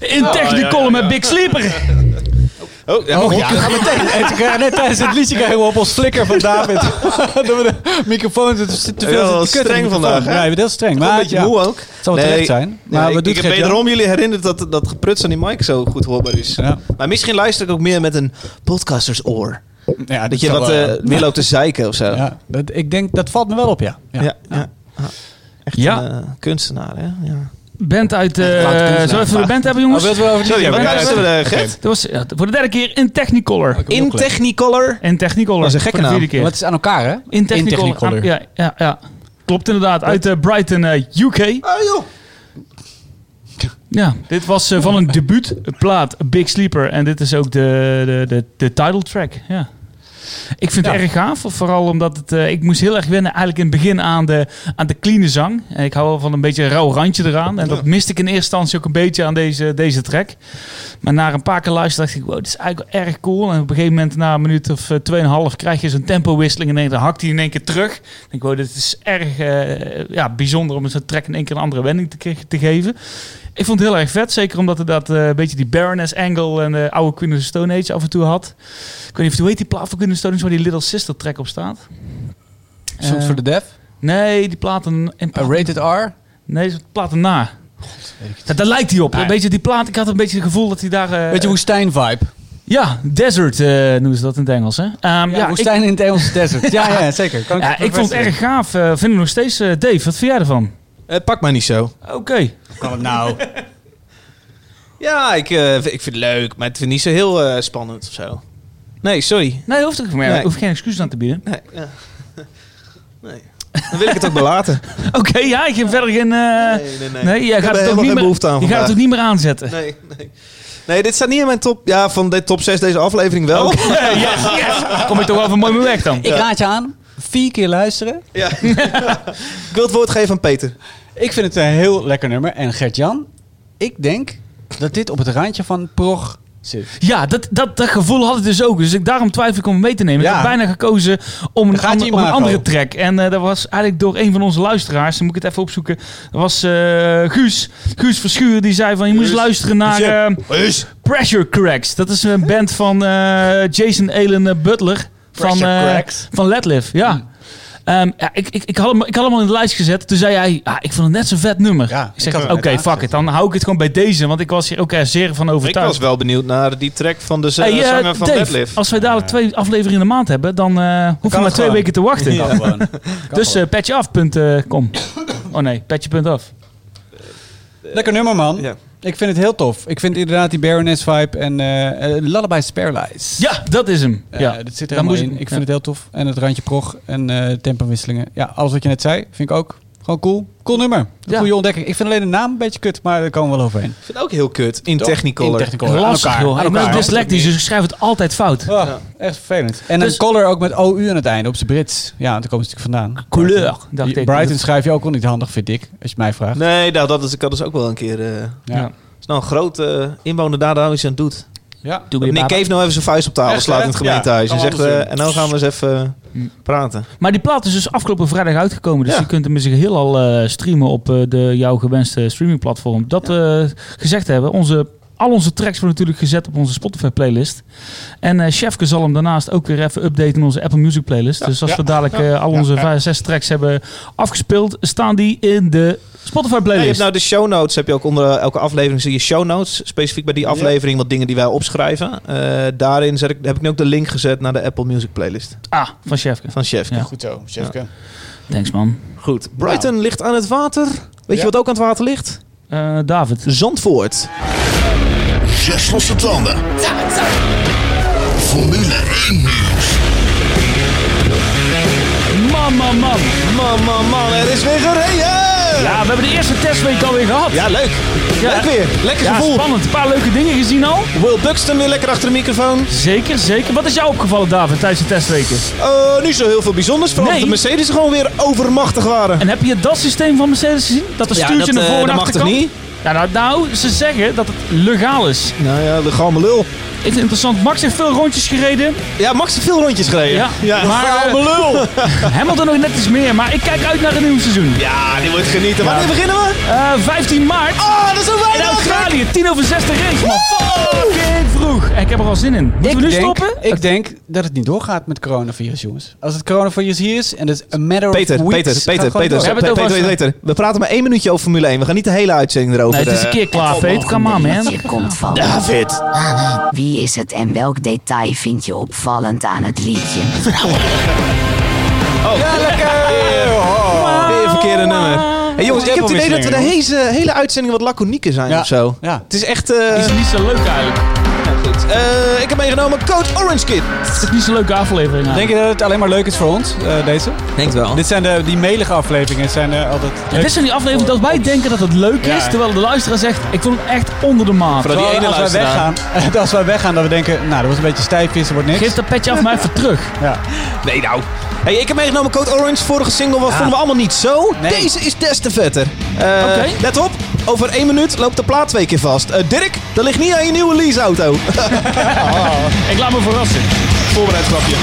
[SPEAKER 2] in Technicolor met Big Sleeper.
[SPEAKER 5] Oh, ja, oh, ja.
[SPEAKER 1] tijdens het liedje krijgen we op ons flikker van David. Door de microfoon zit zit te veel
[SPEAKER 5] Heel
[SPEAKER 1] zit te kut in de microfoon.
[SPEAKER 5] streng vandaag, hè?
[SPEAKER 1] Ja, ik ben heel streng.
[SPEAKER 5] een
[SPEAKER 1] Maar
[SPEAKER 5] beetje
[SPEAKER 1] ja,
[SPEAKER 5] moe ook.
[SPEAKER 1] het zal wel terecht zijn. Maar
[SPEAKER 5] Ja,
[SPEAKER 1] we
[SPEAKER 5] ik,
[SPEAKER 1] doen
[SPEAKER 5] ik
[SPEAKER 1] het,
[SPEAKER 5] heb
[SPEAKER 1] Gert-Jan.
[SPEAKER 5] wederom jullie herinnerd dat dat gepruts aan die mic zo goed hoorbaar is.
[SPEAKER 1] Ja.
[SPEAKER 5] Maar misschien luister ik ook meer met een podcastersoor.
[SPEAKER 1] Ja,
[SPEAKER 5] Dat je wat eh, meer loopt te zeiken of zo. Ja,
[SPEAKER 1] Ja, dat, ik denk, dat valt me wel op, ja. ja.
[SPEAKER 5] ja. Ah, Echt
[SPEAKER 2] Ja.
[SPEAKER 5] een eh, kunstenaar, hè? Ja.
[SPEAKER 2] Band uit... eh
[SPEAKER 1] Laat het
[SPEAKER 2] zullen
[SPEAKER 1] kunstenaar
[SPEAKER 2] we even de
[SPEAKER 1] vragen.
[SPEAKER 2] band hebben, jongens?
[SPEAKER 1] Oh, wilt u wel over die-
[SPEAKER 5] Sorry, we
[SPEAKER 2] maar-
[SPEAKER 5] luisteren eh, Gert.
[SPEAKER 2] Dat was ja, voor de derde keer in Technicolor.
[SPEAKER 5] In Technicolor.
[SPEAKER 2] In Technicolor.
[SPEAKER 5] Dat is een gekke
[SPEAKER 2] voor de vierde
[SPEAKER 5] naam.
[SPEAKER 2] keer.
[SPEAKER 1] Maar het is aan elkaar, hè?
[SPEAKER 2] In Technicolor.
[SPEAKER 1] In Technicolor.
[SPEAKER 2] Ah, ja, ja, ja. Klopt inderdaad. Uit eh, Brighton, eh, UK.
[SPEAKER 5] Ah, joh.
[SPEAKER 2] Ja, dit was eh, van een debuutplaat, Big Sleeper. En dit is ook de, de, de, de title track. Ja. Ik vind het erg gaaf, vooral omdat het, eh, ik moest heel erg wennen eigenlijk in het begin aan de, aan de clean zang. En ik hou wel van een beetje een rauw randje eraan. En dat miste ik in eerste instantie ook een beetje aan deze, deze track. Maar na een paar keer luisteren dacht ik, wow, dit is eigenlijk wel erg cool. En op een gegeven moment, na een minuut of eh, tweeënhalf, krijg je zo'n tempowisseling. En dan hakt hij in één keer terug. Ik denk, wow, dit is erg eh, ja, bijzonder om zo'n track in één keer een andere wending te, kri- te geven. Ik vond het heel erg vet, zeker omdat het dat eh, een beetje die Baroness angle en de oude Queen of the Stone Age af en toe had. Ik weet niet of hoe heet die plaat van Queen of the Stone Age waar die Little Sister track op staat.
[SPEAKER 1] Soms
[SPEAKER 2] Eh,
[SPEAKER 1] voor de def.
[SPEAKER 2] Nee, die platen... En
[SPEAKER 1] Uh, rated R.
[SPEAKER 2] nee, die platen na. Dat, daar lijkt hij op. Een beetje die plaat, ik had een beetje het gevoel dat hij daar... eh,
[SPEAKER 1] Beetje woestijn-vibe.
[SPEAKER 2] ja, desert eh, noemen ze dat in het Engels, hè? Ehm, ja,
[SPEAKER 1] Ja,
[SPEAKER 2] ik,
[SPEAKER 1] woestijn in het Engelse desert. Ja, ja, zeker. Kan ik
[SPEAKER 2] ja, ik vond het erg gaaf. eh vind ik nog steeds. eh, Dave, wat vind jij ervan?
[SPEAKER 5] Eh, pak maar niet zo.
[SPEAKER 2] Oké.
[SPEAKER 1] nou.
[SPEAKER 5] Ja, ik, eh, ik vind het leuk, maar het vind ik niet zo heel eh, spannend of zo. Nee, sorry.
[SPEAKER 2] Nee, hoeft ook niet meer.
[SPEAKER 5] Nee.
[SPEAKER 2] hoef geen excuus aan te bieden.
[SPEAKER 5] Nee. ja. nee. Dan wil ik het ook belaten.
[SPEAKER 2] Oké, ja, ik heb verder geen... eh, nee,
[SPEAKER 5] nee,
[SPEAKER 2] jij
[SPEAKER 5] Ik heb
[SPEAKER 2] gaat
[SPEAKER 5] er
[SPEAKER 2] het ook
[SPEAKER 5] helemaal
[SPEAKER 2] niet
[SPEAKER 5] geen
[SPEAKER 2] meer,
[SPEAKER 5] behoefte aan
[SPEAKER 2] je gaat het
[SPEAKER 5] vandaag.
[SPEAKER 2] ook niet meer aanzetten.
[SPEAKER 5] Nee, nee. Nee, dit staat niet in mijn top... Ja, van de top 6 deze aflevering wel.
[SPEAKER 2] Eh, ja, yes. Kom ik toch wel even mooi mee weg dan.
[SPEAKER 1] Ik raad je aan, vier keer luisteren.
[SPEAKER 5] Ja. ik wil het woord geven aan Peter.
[SPEAKER 1] Ik vind het een heel lekker nummer. En Gert-Jan, ik denk dat dit op het randje van prog zit.
[SPEAKER 2] Ja, dat, dat, dat gevoel had ik dus ook. Dus ik, daarom twijfel ik om hem mee te nemen. Ik
[SPEAKER 1] Ja.
[SPEAKER 2] heb bijna gekozen om een,
[SPEAKER 1] gaat
[SPEAKER 2] ander-
[SPEAKER 1] je
[SPEAKER 2] om een
[SPEAKER 1] imago.
[SPEAKER 2] andere track. En eh, dat was eigenlijk door een van onze luisteraars. Dan moet ik het even opzoeken. Dat was eh, Guus. Guus Verschuur. Die zei van je moest luisteren naar eh, Pressure Cracks. Dat is een band van eh, Jason Allen eh, Butler. Van,
[SPEAKER 1] Pressure
[SPEAKER 2] eh,
[SPEAKER 1] Cracks. Hmm.
[SPEAKER 2] van Letliff, ja. Ehm, ja, ik, ik, ik, had hem, ik had hem al in de lijst gezet. Toen zei hij, ah, ik vond het net zo'n vet nummer.
[SPEAKER 1] Ja,
[SPEAKER 2] ik
[SPEAKER 1] ik
[SPEAKER 2] zeg,
[SPEAKER 1] had
[SPEAKER 2] oké,
[SPEAKER 1] hem net
[SPEAKER 2] fuck it. Dan hou ik het gewoon bij deze. Want ik was hier ook eh, zeer van
[SPEAKER 5] Ik
[SPEAKER 2] overtuigd.
[SPEAKER 5] was wel benieuwd naar die track van de z-
[SPEAKER 2] Hey, eh,
[SPEAKER 5] zanger van
[SPEAKER 2] Dave,
[SPEAKER 5] Deadlift.
[SPEAKER 2] als wij dadelijk twee afleveringen in de maand hebben, dan eh hoef je maar twee weken te wachten. Dus eh patjeaf.com. oh nee, patje.af.
[SPEAKER 1] Lekker nummer, man.
[SPEAKER 5] Ja.
[SPEAKER 1] Ik vind het heel tof. Ik vind inderdaad die Baroness vibe en eh eh, Lullaby Sparelies.
[SPEAKER 2] Ja, dat is hem.
[SPEAKER 1] Eh,
[SPEAKER 2] ja.
[SPEAKER 1] dat zit er
[SPEAKER 2] Dan
[SPEAKER 1] helemaal
[SPEAKER 2] moest
[SPEAKER 1] in. Ik vind het heel tof. En het randje prog en eh tempowisselingen. Ja, alles wat je net zei, vind ik ook gewoon cool. Cool nummer.
[SPEAKER 2] Ja.
[SPEAKER 1] Een Goede ontdekking. Ik vind alleen de naam een beetje kut, maar daar komen we wel overheen.
[SPEAKER 5] Ik vind het ook heel kut. In Technicolor.
[SPEAKER 1] In Technicolor. Aan
[SPEAKER 2] lastig,
[SPEAKER 1] elkaar.
[SPEAKER 2] joh.
[SPEAKER 1] Aan
[SPEAKER 2] Ik ben
[SPEAKER 1] elkaar.
[SPEAKER 2] dyslectisch, dus ik schrijf het altijd fout.
[SPEAKER 1] Oh, Echt vervelend. En
[SPEAKER 2] Dus-
[SPEAKER 1] een color ook met OU aan het einde, op zijn Brits. Ja, want daar komen ze natuurlijk vandaan.
[SPEAKER 2] Couleur, dacht ik.
[SPEAKER 1] Brighton schrijf je ook wel niet handig, vind ik, als je mij vraagt.
[SPEAKER 5] Nee, nou, dat is, ik had dus ook wel een keer... eh
[SPEAKER 1] Ja.
[SPEAKER 2] Ja.
[SPEAKER 5] is nou een grote inwoner daar daar iets aan doet.
[SPEAKER 1] Ja.
[SPEAKER 2] Doe
[SPEAKER 5] Dat
[SPEAKER 2] weer
[SPEAKER 5] Nick
[SPEAKER 2] baba.
[SPEAKER 5] Cave nou even zijn vuist op tafel
[SPEAKER 1] Echt,
[SPEAKER 5] slaat
[SPEAKER 1] hè?
[SPEAKER 5] in het gemeentehuis.
[SPEAKER 1] Ja,
[SPEAKER 5] en
[SPEAKER 1] kan
[SPEAKER 5] zegt,
[SPEAKER 1] anders
[SPEAKER 5] eh,
[SPEAKER 1] doen.
[SPEAKER 5] en nou gaan we eens even eh, praten.
[SPEAKER 2] Maar die plaat is dus afgelopen vrijdag uitgekomen. Dus
[SPEAKER 5] Ja.
[SPEAKER 2] je kunt hem in zijn heel al eh, streamen op eh, de, jouw gewenste streamingplatform. Dat eh, gezegd hebben, onze, al onze tracks worden natuurlijk gezet op onze Spotify playlist. En eh Chefke zal hem daarnaast ook weer even updaten in onze Apple Music playlist. dus als we dadelijk eh, al onze vijf, zes tracks hebben afgespeeld, staan die in de Spotify
[SPEAKER 5] Ja, je hebt
[SPEAKER 2] playlist.
[SPEAKER 5] nou de show notes, heb je ook onder eh, elke aflevering zie je show notes. Specifiek bij die aflevering wat dingen die wij opschrijven. Eh, daarin zet ik, heb ik nu ook de link gezet naar de Apple Music playlist
[SPEAKER 2] Ah, van Chefke.
[SPEAKER 5] van Chef.
[SPEAKER 2] Ja.
[SPEAKER 1] Goed zo,
[SPEAKER 5] Sjefke.
[SPEAKER 2] Thanks man.
[SPEAKER 5] Goed. Nou. Brighton ligt aan het water. Weet je wat ook aan het water ligt?
[SPEAKER 2] Eh, David.
[SPEAKER 5] Zandvoort.
[SPEAKER 4] Zes losse tanden. Formule 1 nieuws.
[SPEAKER 2] Man, man, man.
[SPEAKER 5] Man, man, man, er is weer gereden!
[SPEAKER 2] Ja, we hebben de eerste testweek alweer gehad.
[SPEAKER 5] Ja, leuk.
[SPEAKER 2] Ja.
[SPEAKER 5] Leuk weer. Lekker
[SPEAKER 2] Ja,
[SPEAKER 5] gevoel.
[SPEAKER 2] spannend. Een paar leuke dingen gezien al.
[SPEAKER 5] Will Buxton weer lekker achter de microfoon.
[SPEAKER 2] Zeker, zeker. Wat is jou opgevallen, David, tijdens de testweken?
[SPEAKER 5] Eh, niet zo heel veel bijzonders. Vooral
[SPEAKER 2] Nee.
[SPEAKER 5] dat de Mercedes gewoon weer overmachtig waren.
[SPEAKER 2] En heb je dat systeem van Mercedes gezien? Dat de stuurtje
[SPEAKER 5] dat,
[SPEAKER 2] naar
[SPEAKER 5] eh,
[SPEAKER 2] voren en
[SPEAKER 5] dat mag toch
[SPEAKER 2] achterkant?
[SPEAKER 5] niet?
[SPEAKER 2] Nou, nou, nou, ze zeggen dat het legaal is. Ik
[SPEAKER 5] Nou ja, de galme lul.
[SPEAKER 2] vind het interessant. Max heeft veel rondjes gereden.
[SPEAKER 5] Ja, Max heeft veel rondjes gereden.
[SPEAKER 2] Ja,
[SPEAKER 5] ja.
[SPEAKER 2] maar, eh,
[SPEAKER 5] Galme lul.
[SPEAKER 2] Hamilton nog net iets meer, maar ik kijk uit naar het nieuwe seizoen.
[SPEAKER 5] Ja, die wordt genieten. Wanneer beginnen we?
[SPEAKER 2] Eh, 15 maart
[SPEAKER 5] Ah, dat is zo
[SPEAKER 2] in
[SPEAKER 5] weinig.
[SPEAKER 2] Australië. België, 10 over 6 de race, man. Fucking vroeg. En ik heb er al zin in. Moeten we nu
[SPEAKER 1] denk,
[SPEAKER 2] stoppen?
[SPEAKER 1] Ik denk dat het niet doorgaat met coronavirus, jongens. Als het coronavirus hier is en het is een matter
[SPEAKER 5] Peter,
[SPEAKER 1] of weeks...
[SPEAKER 5] Peter,
[SPEAKER 1] het
[SPEAKER 5] Peter,
[SPEAKER 1] gaat gewoon
[SPEAKER 5] Peter,
[SPEAKER 1] door.
[SPEAKER 2] We hebben
[SPEAKER 5] Peter,
[SPEAKER 2] het
[SPEAKER 5] Peter,
[SPEAKER 2] over-
[SPEAKER 5] Peter. We praten maar één minuutje over Formule 1. We gaan niet de hele uitzending erover.
[SPEAKER 2] Nee, het is een
[SPEAKER 5] eh,
[SPEAKER 2] keer klaar, Veet. Come on, man.
[SPEAKER 7] Je komt van.
[SPEAKER 5] David.
[SPEAKER 7] Wie is het en welk detail vind je opvallend aan het liedje?
[SPEAKER 5] Oh, Weer verkeerde nummer. Hey, jongens, ik heb het idee dat we de hele, hele uitzending wat laconieker zijn
[SPEAKER 1] Ja,
[SPEAKER 5] of zo.
[SPEAKER 1] ja.
[SPEAKER 5] Het is echt... eh,
[SPEAKER 2] Is niet zo leuk eigenlijk.
[SPEAKER 5] eh, ik heb meegenomen Coach Orange Kid.
[SPEAKER 2] Het is niet zo'n leuke aflevering. nou.
[SPEAKER 1] Denk
[SPEAKER 2] eigenlijk.
[SPEAKER 1] je dat het alleen maar leuk is voor ons, eh, deze?
[SPEAKER 5] Denk wel.
[SPEAKER 1] Dit zijn de, die melige afleveringen, zijn eh, altijd...
[SPEAKER 2] Het is zo'n aflevering dat wij denken dat het leuk is,
[SPEAKER 1] Ja.
[SPEAKER 2] terwijl de luisteraar zegt, ik vond het echt onder de
[SPEAKER 5] Vooral
[SPEAKER 2] maat.
[SPEAKER 5] die
[SPEAKER 1] Terwijl
[SPEAKER 5] ene
[SPEAKER 1] als wij,
[SPEAKER 5] luisteraar.
[SPEAKER 1] weggaan, als wij weggaan, dat we denken, nou, dat was een beetje stijfjes, er wordt niks.
[SPEAKER 2] Geef dat petje af, maar even terug.
[SPEAKER 1] Ja.
[SPEAKER 5] Nee, nou. Hey, ik heb meegenomen Code Orange. Vorige single wat vonden we allemaal niet zo.
[SPEAKER 1] Nee.
[SPEAKER 5] Deze is des te vetter. Eh,
[SPEAKER 2] Oké.
[SPEAKER 5] Let op, over één minuut loopt de plaat twee keer vast. Eh, Dirk, dat ligt niet aan je nieuwe leaseauto.
[SPEAKER 2] Ik laat me verrassen.
[SPEAKER 5] Voorbereid grapje.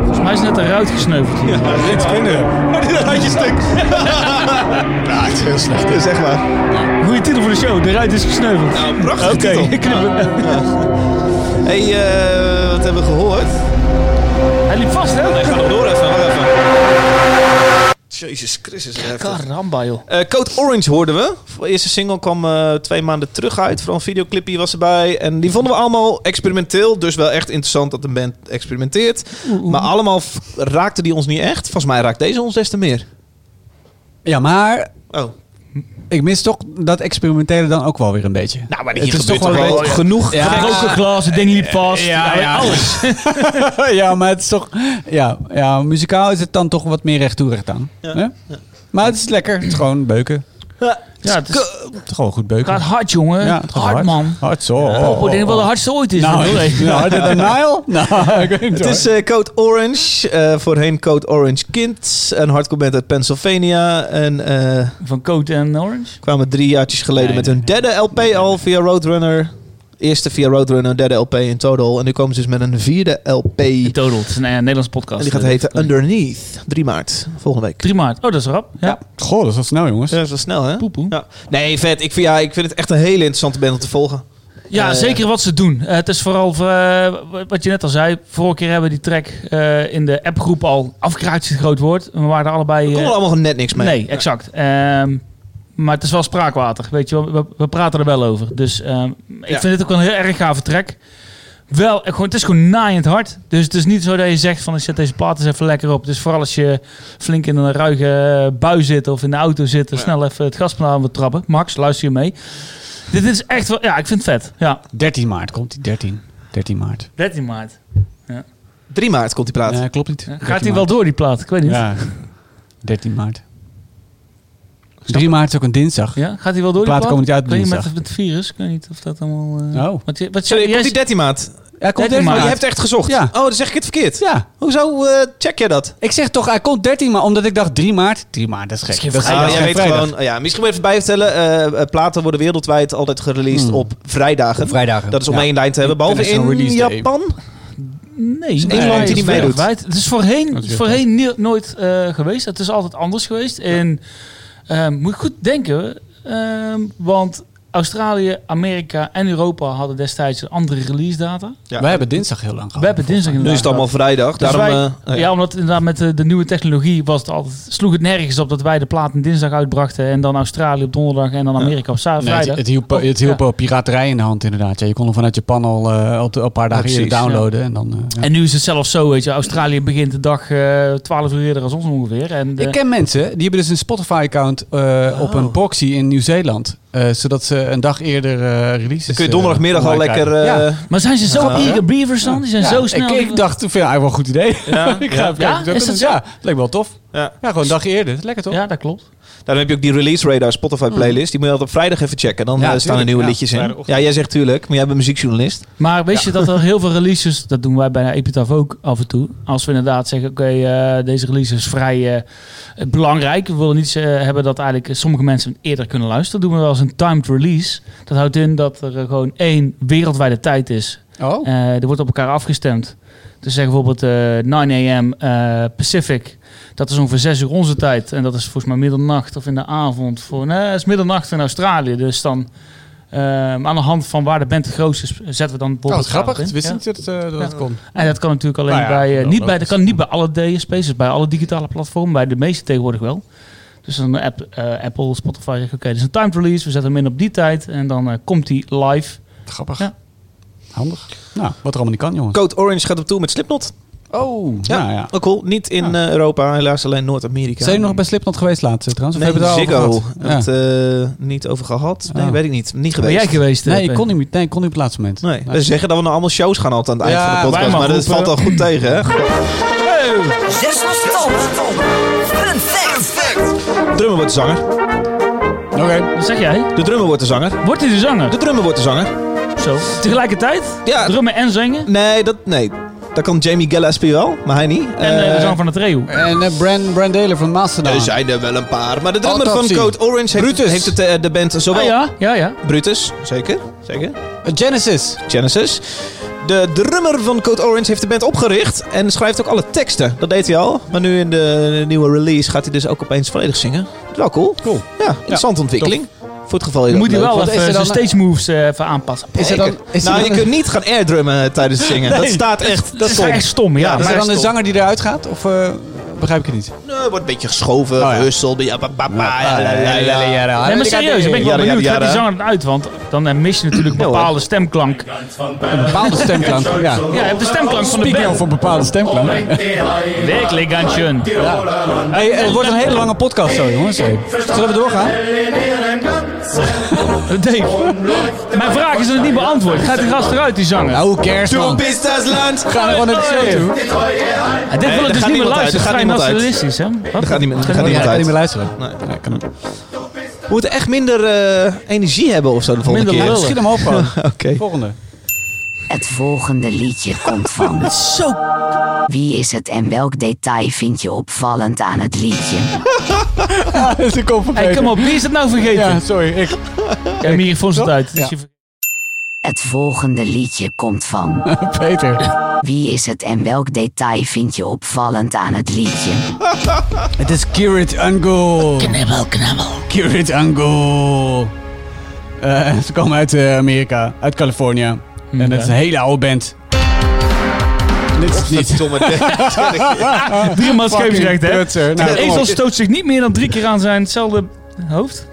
[SPEAKER 2] Volgens mij is net eruit gesneuveld hier.
[SPEAKER 5] Zeg maar.
[SPEAKER 2] Goeie titel voor de show, de ruit is gesneuveld.
[SPEAKER 5] Prachtig
[SPEAKER 2] Oké,
[SPEAKER 5] titel.
[SPEAKER 2] ik knip hem.
[SPEAKER 5] Hey, eh, wat hebben we gehoord?
[SPEAKER 2] Hij liep vast, hè?
[SPEAKER 5] Ga nog door even, wacht even. Jezus Christus.
[SPEAKER 2] Karamba, joh.
[SPEAKER 5] Eh, Code Orange hoorden we. De eerste single kwam eh, twee maanden terug uit. Vooral een videoclipje was erbij. En die vonden we allemaal experimenteel. Dus wel echt interessant dat de band experimenteert. Maar allemaal f- raakte die ons niet echt. Volgens mij raakt deze ons des te meer.
[SPEAKER 1] ja, maar
[SPEAKER 5] Oh.
[SPEAKER 1] ik mis toch dat experimentele dan ook wel weer een beetje.
[SPEAKER 5] Nou, maar
[SPEAKER 1] Het
[SPEAKER 5] hier
[SPEAKER 1] is
[SPEAKER 5] gebeurt
[SPEAKER 1] toch
[SPEAKER 5] toch
[SPEAKER 1] wel
[SPEAKER 5] wel
[SPEAKER 1] een beetje-
[SPEAKER 5] genoeg.
[SPEAKER 1] Ja.
[SPEAKER 2] Ja. Ook een glas, het ding liep vast. Ja, ja, alles.
[SPEAKER 1] ja, maar het is toch... Ja, ja, muzikaal is het dan toch wat meer recht toe recht aan. hè? Maar het is lekker. Het is gewoon beuken.
[SPEAKER 2] Ja, het is-
[SPEAKER 1] Het is gewoon goed beuken.
[SPEAKER 2] gaat hard, jongen.
[SPEAKER 1] ja, het
[SPEAKER 2] hard,
[SPEAKER 1] gaat
[SPEAKER 2] man.
[SPEAKER 1] Hard zo.
[SPEAKER 2] Oh, ik denk wel de hardste ooit is.
[SPEAKER 1] Nou,
[SPEAKER 2] dit, hoor.
[SPEAKER 1] nou, harder dan Nile? Nou, ik weet niet
[SPEAKER 5] Het
[SPEAKER 1] hoor.
[SPEAKER 5] is eh, Code Orange, eh, voorheen Code Orange Kind, een hardcore band uit Pennsylvania. En eh,
[SPEAKER 2] Van Coat en Orange.
[SPEAKER 5] kwamen drie jaartjes geleden
[SPEAKER 1] Nee,
[SPEAKER 5] met
[SPEAKER 1] nee,
[SPEAKER 5] hun derde LP al via Roadrunner. Eerste via Roadrunner, derde LP in total. En nu komen ze dus met een vierde LP.
[SPEAKER 2] In total. Het is een eh, Nederlands podcast.
[SPEAKER 5] En die gaat
[SPEAKER 2] Eh,
[SPEAKER 5] heten
[SPEAKER 2] dat-
[SPEAKER 5] Underneath, 3 maart, volgende week.
[SPEAKER 2] 3 maart. Oh, dat is rap. Ja.
[SPEAKER 1] Goh, dat is wel snel, jongens.
[SPEAKER 5] eh, Ja, dat is wel snel, hè?
[SPEAKER 2] Poepoe.
[SPEAKER 5] Ja. Nee, vet. Ik vind, ja, ik vind het echt een hele interessante band om te volgen.
[SPEAKER 2] Ja,
[SPEAKER 5] Eh,
[SPEAKER 2] zeker wat ze doen. Eh, het is vooral eh, wat je net al zei. Vorige keer hebben we die track eh, in de appgroep al afgekraakt, is het groot woord. We waren er allebei.
[SPEAKER 5] We
[SPEAKER 2] eh,
[SPEAKER 5] komen er allemaal net niks mee.
[SPEAKER 2] nee, exact. Ehm, maar het is wel spraakwater. Weet je, wel. we, we praten er wel over. Dus ehm, ik
[SPEAKER 5] Ja.
[SPEAKER 2] vind dit ook wel een heel erg gave track. Wel, eh, gewoon, het is gewoon naaiend hard. Dus het is niet zo dat je zegt van ik zet deze plaat eens even lekker op. Dus vooral als je flink in een ruige eh, bui zit of in de auto zit, en snel even het gaspedaal moet trappen. Max, luister je mee. Dit is echt wel, ja, ik vind het vet. Ja.
[SPEAKER 1] 13 maart komt die 13. 13 maart.
[SPEAKER 2] 13 maart.
[SPEAKER 5] 3 maart komt die plaat.
[SPEAKER 1] Nee, klopt niet.
[SPEAKER 2] Gaat hij wel door, die plaat? Ik weet niet. Ja.
[SPEAKER 1] Ja. 13 maart. 3 maart is ook een dinsdag.
[SPEAKER 2] Gaat hij wel door,
[SPEAKER 1] De plaat
[SPEAKER 2] die plaat?
[SPEAKER 1] komt niet uit
[SPEAKER 2] Ik weet niet, met,
[SPEAKER 1] dinsdag.
[SPEAKER 2] met het virus. Ik weet niet of dat allemaal... eh,
[SPEAKER 1] Oh.
[SPEAKER 2] Wat, je- wat
[SPEAKER 5] Sorry,
[SPEAKER 2] je-
[SPEAKER 5] komt
[SPEAKER 2] jij-
[SPEAKER 5] die 13 maart.
[SPEAKER 1] Ja, komt
[SPEAKER 2] 13
[SPEAKER 1] 13
[SPEAKER 2] maart.
[SPEAKER 5] Oh,
[SPEAKER 1] maart.
[SPEAKER 5] je hebt echt gezocht.
[SPEAKER 1] Ja. Ah,
[SPEAKER 5] Oh, dan zeg ik het verkeerd.
[SPEAKER 1] Ja.
[SPEAKER 5] Hoezo eh, check jij dat?
[SPEAKER 1] Ik zeg toch, hij komt 13 maart, omdat ik dacht 3 maart. 3 maart, dat is gek.
[SPEAKER 2] Misschien
[SPEAKER 1] Dat is
[SPEAKER 5] Ah,
[SPEAKER 1] geen- dat is
[SPEAKER 5] jij
[SPEAKER 1] geen
[SPEAKER 5] weet
[SPEAKER 1] vrijdag.
[SPEAKER 5] gewoon, ja, misschien moet ik even bijvertellen. eh eh, platen worden wereldwijd altijd gereleased
[SPEAKER 1] Hmm.
[SPEAKER 5] op vrijdagen.
[SPEAKER 1] Vrijdagen.
[SPEAKER 5] eh, Dat is om
[SPEAKER 1] Ja.
[SPEAKER 5] één lijn te hebben. Behalve
[SPEAKER 1] International
[SPEAKER 5] in
[SPEAKER 1] release day.
[SPEAKER 5] Japan.
[SPEAKER 2] Nee.
[SPEAKER 5] één land
[SPEAKER 2] hij
[SPEAKER 5] die
[SPEAKER 2] is
[SPEAKER 5] niet meedoet.
[SPEAKER 2] wereldwijd. Het is voorheen,
[SPEAKER 1] Dat is
[SPEAKER 2] voorheen nie- nooit eh, geweest. Het is altijd anders geweest. En ehm, moet ik goed denken, ehm, want Australië, Amerika en Europa hadden destijds een andere release data.
[SPEAKER 5] Ja.
[SPEAKER 1] Wij hebben dinsdag heel lang gehad.
[SPEAKER 2] We hebben dinsdag
[SPEAKER 5] Nu is het allemaal vrijdag.
[SPEAKER 2] Dus
[SPEAKER 5] daarom,
[SPEAKER 2] wij-
[SPEAKER 5] eh,
[SPEAKER 2] ja, omdat inderdaad met de, de nieuwe technologie was het altijd, sloeg het nergens op dat wij de plaat een dinsdag uitbrachten en dan Australië op donderdag en dan Amerika op za-
[SPEAKER 1] Nee,
[SPEAKER 2] vrijdag.
[SPEAKER 1] het, het hielp, het hielp wel piraterij in de hand inderdaad. Ja, je kon hem vanuit Japan al eh, op de- een paar dagen
[SPEAKER 5] Ja,
[SPEAKER 1] eerder
[SPEAKER 5] precies,
[SPEAKER 1] downloaden. En dan, eh, ja.
[SPEAKER 2] En nu is het zelfs zo, weet je, Australië begint de dag eh 12 uur eerder als ons ongeveer. En de- Oh.
[SPEAKER 1] Ik ken mensen, die hebben dus een Spotify-account eh, op een proxy in Nieuw-Zeeland. eh, zodat ze een dag eerder eh releases...
[SPEAKER 5] dan kun
[SPEAKER 1] eh,
[SPEAKER 5] je donderdagmiddag al
[SPEAKER 1] online
[SPEAKER 5] lekker...
[SPEAKER 1] krijgen.
[SPEAKER 5] eh,
[SPEAKER 1] Ja.
[SPEAKER 2] maar zijn ze zo
[SPEAKER 5] Ja.
[SPEAKER 2] eager beavers dan? Die zijn
[SPEAKER 1] Ja,
[SPEAKER 2] zo snel.
[SPEAKER 1] Ik, ik dacht, ik vind het eigenlijk wel een goed idee. ik ga even kijken.
[SPEAKER 2] Ja?
[SPEAKER 1] of dat
[SPEAKER 2] Is dat
[SPEAKER 1] kan.
[SPEAKER 2] zo?
[SPEAKER 1] ja, het lijkt wel tof.
[SPEAKER 5] Ja.
[SPEAKER 1] Ja, gewoon een dag eerder. Dat is lekker toch?
[SPEAKER 2] ja, dat klopt.
[SPEAKER 5] Daarom heb je ook die Release Radar Spotify playlist. Die moet je altijd op vrijdag even checken. Dan
[SPEAKER 1] Mm. Ja,
[SPEAKER 5] eh, staan
[SPEAKER 1] tuurlijk.
[SPEAKER 5] er nieuwe
[SPEAKER 1] Ja,
[SPEAKER 5] liedjes in.
[SPEAKER 1] vrijdagochtend.
[SPEAKER 5] Ja, jij zegt tuurlijk. Maar jij bent muziekjournalist.
[SPEAKER 2] Maar weet je dat er heel veel releases, dat doen wij bij Epitaph ook af en toe. Als we inderdaad zeggen, oké, eh, deze release is vrij eh, belangrijk. We willen niet eh, hebben dat eigenlijk sommige mensen hem eerder kunnen luisteren. Dat doen we wel eens een timed release. Dat houdt in dat er eh, gewoon één wereldwijde tijd is.
[SPEAKER 1] Oh.
[SPEAKER 2] Eh, er wordt op elkaar afgestemd. Dus zeg bijvoorbeeld eh 9 a.m. eh, Pacific. Dat is ongeveer 6 uur onze tijd. En dat is volgens mij middernacht of in de avond. Voor, nee, het is middernacht in Australië. Dus dan eh, aan de hand van waar de band het grootst is,
[SPEAKER 1] Oh,
[SPEAKER 2] zetten we dan
[SPEAKER 1] wat
[SPEAKER 2] bijvoorbeeld
[SPEAKER 1] grappig.
[SPEAKER 2] in.
[SPEAKER 1] Ik wist
[SPEAKER 2] Ja.
[SPEAKER 1] niet dat eh, dat het kon.
[SPEAKER 2] En dat kan natuurlijk alleen
[SPEAKER 1] Nou ja,
[SPEAKER 2] bij, eh,
[SPEAKER 1] wel
[SPEAKER 2] niet bij, dat
[SPEAKER 1] logisch.
[SPEAKER 2] kan niet bij alle DSP's, dus bij alle digitale platformen, bij de meeste tegenwoordig wel. Dus dan app, eh, Apple, Spotify zegt oké, dit is een timed release, we zetten hem in op die tijd en dan eh, komt die live.
[SPEAKER 1] Grappig.
[SPEAKER 2] Ja.
[SPEAKER 1] Handig. Nou, wat er allemaal niet kan, jongens.
[SPEAKER 5] Code Orange gaat op toe met Slipknot.
[SPEAKER 1] Oh,
[SPEAKER 5] Ja,
[SPEAKER 1] nou ja.
[SPEAKER 5] ook cool. Niet in
[SPEAKER 1] Ja.
[SPEAKER 5] eh, Europa, helaas alleen Noord-Amerika.
[SPEAKER 1] Zijn jullie nog bij Slipknot geweest laatst eh, trouwens? Of
[SPEAKER 5] Nee,
[SPEAKER 1] hebben we het daar al
[SPEAKER 5] Ziggo.
[SPEAKER 1] over gehad?
[SPEAKER 5] Het,
[SPEAKER 1] Ja.
[SPEAKER 5] eh, niet over gehad. Nee,
[SPEAKER 1] Oh.
[SPEAKER 5] weet ik niet. Niet
[SPEAKER 2] Ben
[SPEAKER 5] geweest.
[SPEAKER 2] jij geweest? eh,
[SPEAKER 1] Nee, ik
[SPEAKER 2] Peter?
[SPEAKER 1] kon niet, meer- nee, ik kon niet op het laatste moment.
[SPEAKER 5] Nee. We zeggen dat we nou allemaal shows gaan altijd aan het eind
[SPEAKER 1] Ja,
[SPEAKER 5] van de podcast.
[SPEAKER 2] wij
[SPEAKER 5] Maar
[SPEAKER 2] maar
[SPEAKER 5] dat valt
[SPEAKER 2] roepen.
[SPEAKER 5] al goed tegen, hè?
[SPEAKER 13] Zes was top. Fun fact.
[SPEAKER 5] De drummer wordt de zanger.
[SPEAKER 1] Oké.
[SPEAKER 2] Wat zeg jij?
[SPEAKER 5] De drummer wordt de zanger.
[SPEAKER 2] Wordt hij de zanger?
[SPEAKER 5] De drummer wordt de zanger.
[SPEAKER 2] Zo. Tegelijkertijd?
[SPEAKER 5] Ja.
[SPEAKER 2] Drummen en zingen?
[SPEAKER 5] Nee, dat, nee. dat kan Jamie Gillespie wel, maar hij niet.
[SPEAKER 2] En eh, de
[SPEAKER 5] Eh, Nou.
[SPEAKER 2] zang van het trio.
[SPEAKER 1] En eh, Brand, Brand Taylor van Mastodon.
[SPEAKER 5] er zijn er wel een paar. Maar de drummer
[SPEAKER 1] Autopsy.
[SPEAKER 5] van Code Orange heeft,
[SPEAKER 1] Brutus.
[SPEAKER 5] heeft het, eh, de band zowel...
[SPEAKER 2] Ah ja, ja, ja.
[SPEAKER 5] Brutus, zeker. Zeker.
[SPEAKER 1] Genesis.
[SPEAKER 5] Genesis. De drummer van Code Orange heeft de band opgericht en schrijft ook alle teksten. Dat deed hij al. Maar nu in de nieuwe release gaat hij dus ook opeens volledig zingen. Dat is wel cool.
[SPEAKER 1] Cool.
[SPEAKER 5] Ja, interessante ontwikkeling. Voor het geval je
[SPEAKER 2] Dan
[SPEAKER 5] dat
[SPEAKER 2] moet hij
[SPEAKER 5] leuk
[SPEAKER 2] wel
[SPEAKER 1] want is
[SPEAKER 2] even
[SPEAKER 1] er
[SPEAKER 2] zijn
[SPEAKER 1] dan-
[SPEAKER 2] stage moves eh, even aanpassen.
[SPEAKER 1] Is er
[SPEAKER 5] vindt.
[SPEAKER 1] dan, is er
[SPEAKER 5] nou,
[SPEAKER 1] dan,
[SPEAKER 5] je kunt niet gaan airdrummen eh, tijdens het zingen. Dat staat echt...
[SPEAKER 2] Dat is echt stom, ja.
[SPEAKER 5] Ja,
[SPEAKER 1] is
[SPEAKER 2] maar
[SPEAKER 1] er dan de
[SPEAKER 5] stom.
[SPEAKER 1] zanger die eruit gaat? Of eh, begrijp ik het niet?
[SPEAKER 5] Nee, Eh, wordt een beetje geschoven,
[SPEAKER 1] ja.
[SPEAKER 5] hussel, ja, ba, ba, ba, ja, la, la, la, la.
[SPEAKER 2] Nee, maar serieus, ik ben ik wel
[SPEAKER 5] Jada,
[SPEAKER 2] benieuwd.
[SPEAKER 5] jada,
[SPEAKER 2] Gaat die
[SPEAKER 5] jada.
[SPEAKER 2] zanger eruit? Want dan eh, mis je natuurlijk een
[SPEAKER 5] Ja, hoor.
[SPEAKER 2] bepaalde stemklank.
[SPEAKER 1] Een bepaalde stemklank. Ja.
[SPEAKER 2] Ja, je hebt de stemklank van de
[SPEAKER 1] Speaking
[SPEAKER 2] band. Oh,
[SPEAKER 1] of een bepaalde stemklank.
[SPEAKER 2] Werkelijk, gansjön.
[SPEAKER 1] Hey, eh, het wordt een hele lange podcast zo, jongens. Hey. Zullen we doorgaan?
[SPEAKER 2] Dave, mijn vraag is nog niet beantwoord. Gaat die gast eruit, die zanger?
[SPEAKER 1] Nou, hoe cares,
[SPEAKER 5] Du
[SPEAKER 1] man?
[SPEAKER 5] bist das Land.
[SPEAKER 1] We gaan gewoon naar de show toe.
[SPEAKER 2] Ja, dit wil
[SPEAKER 5] daar gaat
[SPEAKER 2] ik dus niet meer
[SPEAKER 5] niemand uit,
[SPEAKER 2] luisteren.
[SPEAKER 5] daar
[SPEAKER 2] Het is
[SPEAKER 5] gaat
[SPEAKER 2] vrij
[SPEAKER 5] niemand uit.
[SPEAKER 2] nationalistisch, hè? Wat?
[SPEAKER 5] gaat niemand- daar gaat
[SPEAKER 1] Ja,
[SPEAKER 5] niemand
[SPEAKER 1] ik
[SPEAKER 5] uit.
[SPEAKER 1] kan niet meer luisteren.
[SPEAKER 5] Nee.
[SPEAKER 1] Nee, ik kan niet.
[SPEAKER 5] moeten echt minder eh, energie hebben of zo de volgende
[SPEAKER 2] Minder
[SPEAKER 5] keer.
[SPEAKER 2] lullen.
[SPEAKER 1] Schiet hem op gewoon.
[SPEAKER 5] Oké.
[SPEAKER 1] Volgende.
[SPEAKER 7] Het volgende liedje komt van.
[SPEAKER 5] Zo.
[SPEAKER 7] Wie is het en welk detail vind je opvallend aan het liedje?
[SPEAKER 1] Ik kom
[SPEAKER 2] Hey, kom op, wie is het nou vergeten?
[SPEAKER 1] Ja,
[SPEAKER 2] Ja,
[SPEAKER 1] sorry. Ik.
[SPEAKER 2] mijn microfoon staat uit. Dus
[SPEAKER 1] Ja.
[SPEAKER 2] je-
[SPEAKER 7] Het volgende liedje komt van.
[SPEAKER 1] Peter.
[SPEAKER 7] Wie is het en welk detail vind je opvallend aan het liedje?
[SPEAKER 1] Het is Kirit Angul.
[SPEAKER 7] Knibbel, knabbel.
[SPEAKER 1] Kirit Angul. Eh, ze komen uit eh, Amerika, uit Californië. En het is een hele oude band. Dit is niet.
[SPEAKER 2] Drie maal scheepsrecht, hè?
[SPEAKER 1] Prutser. Nou,
[SPEAKER 2] De
[SPEAKER 1] kom op.
[SPEAKER 2] ezel stoot zich niet meer dan drie keer aan zijn hetzelfde hoofd.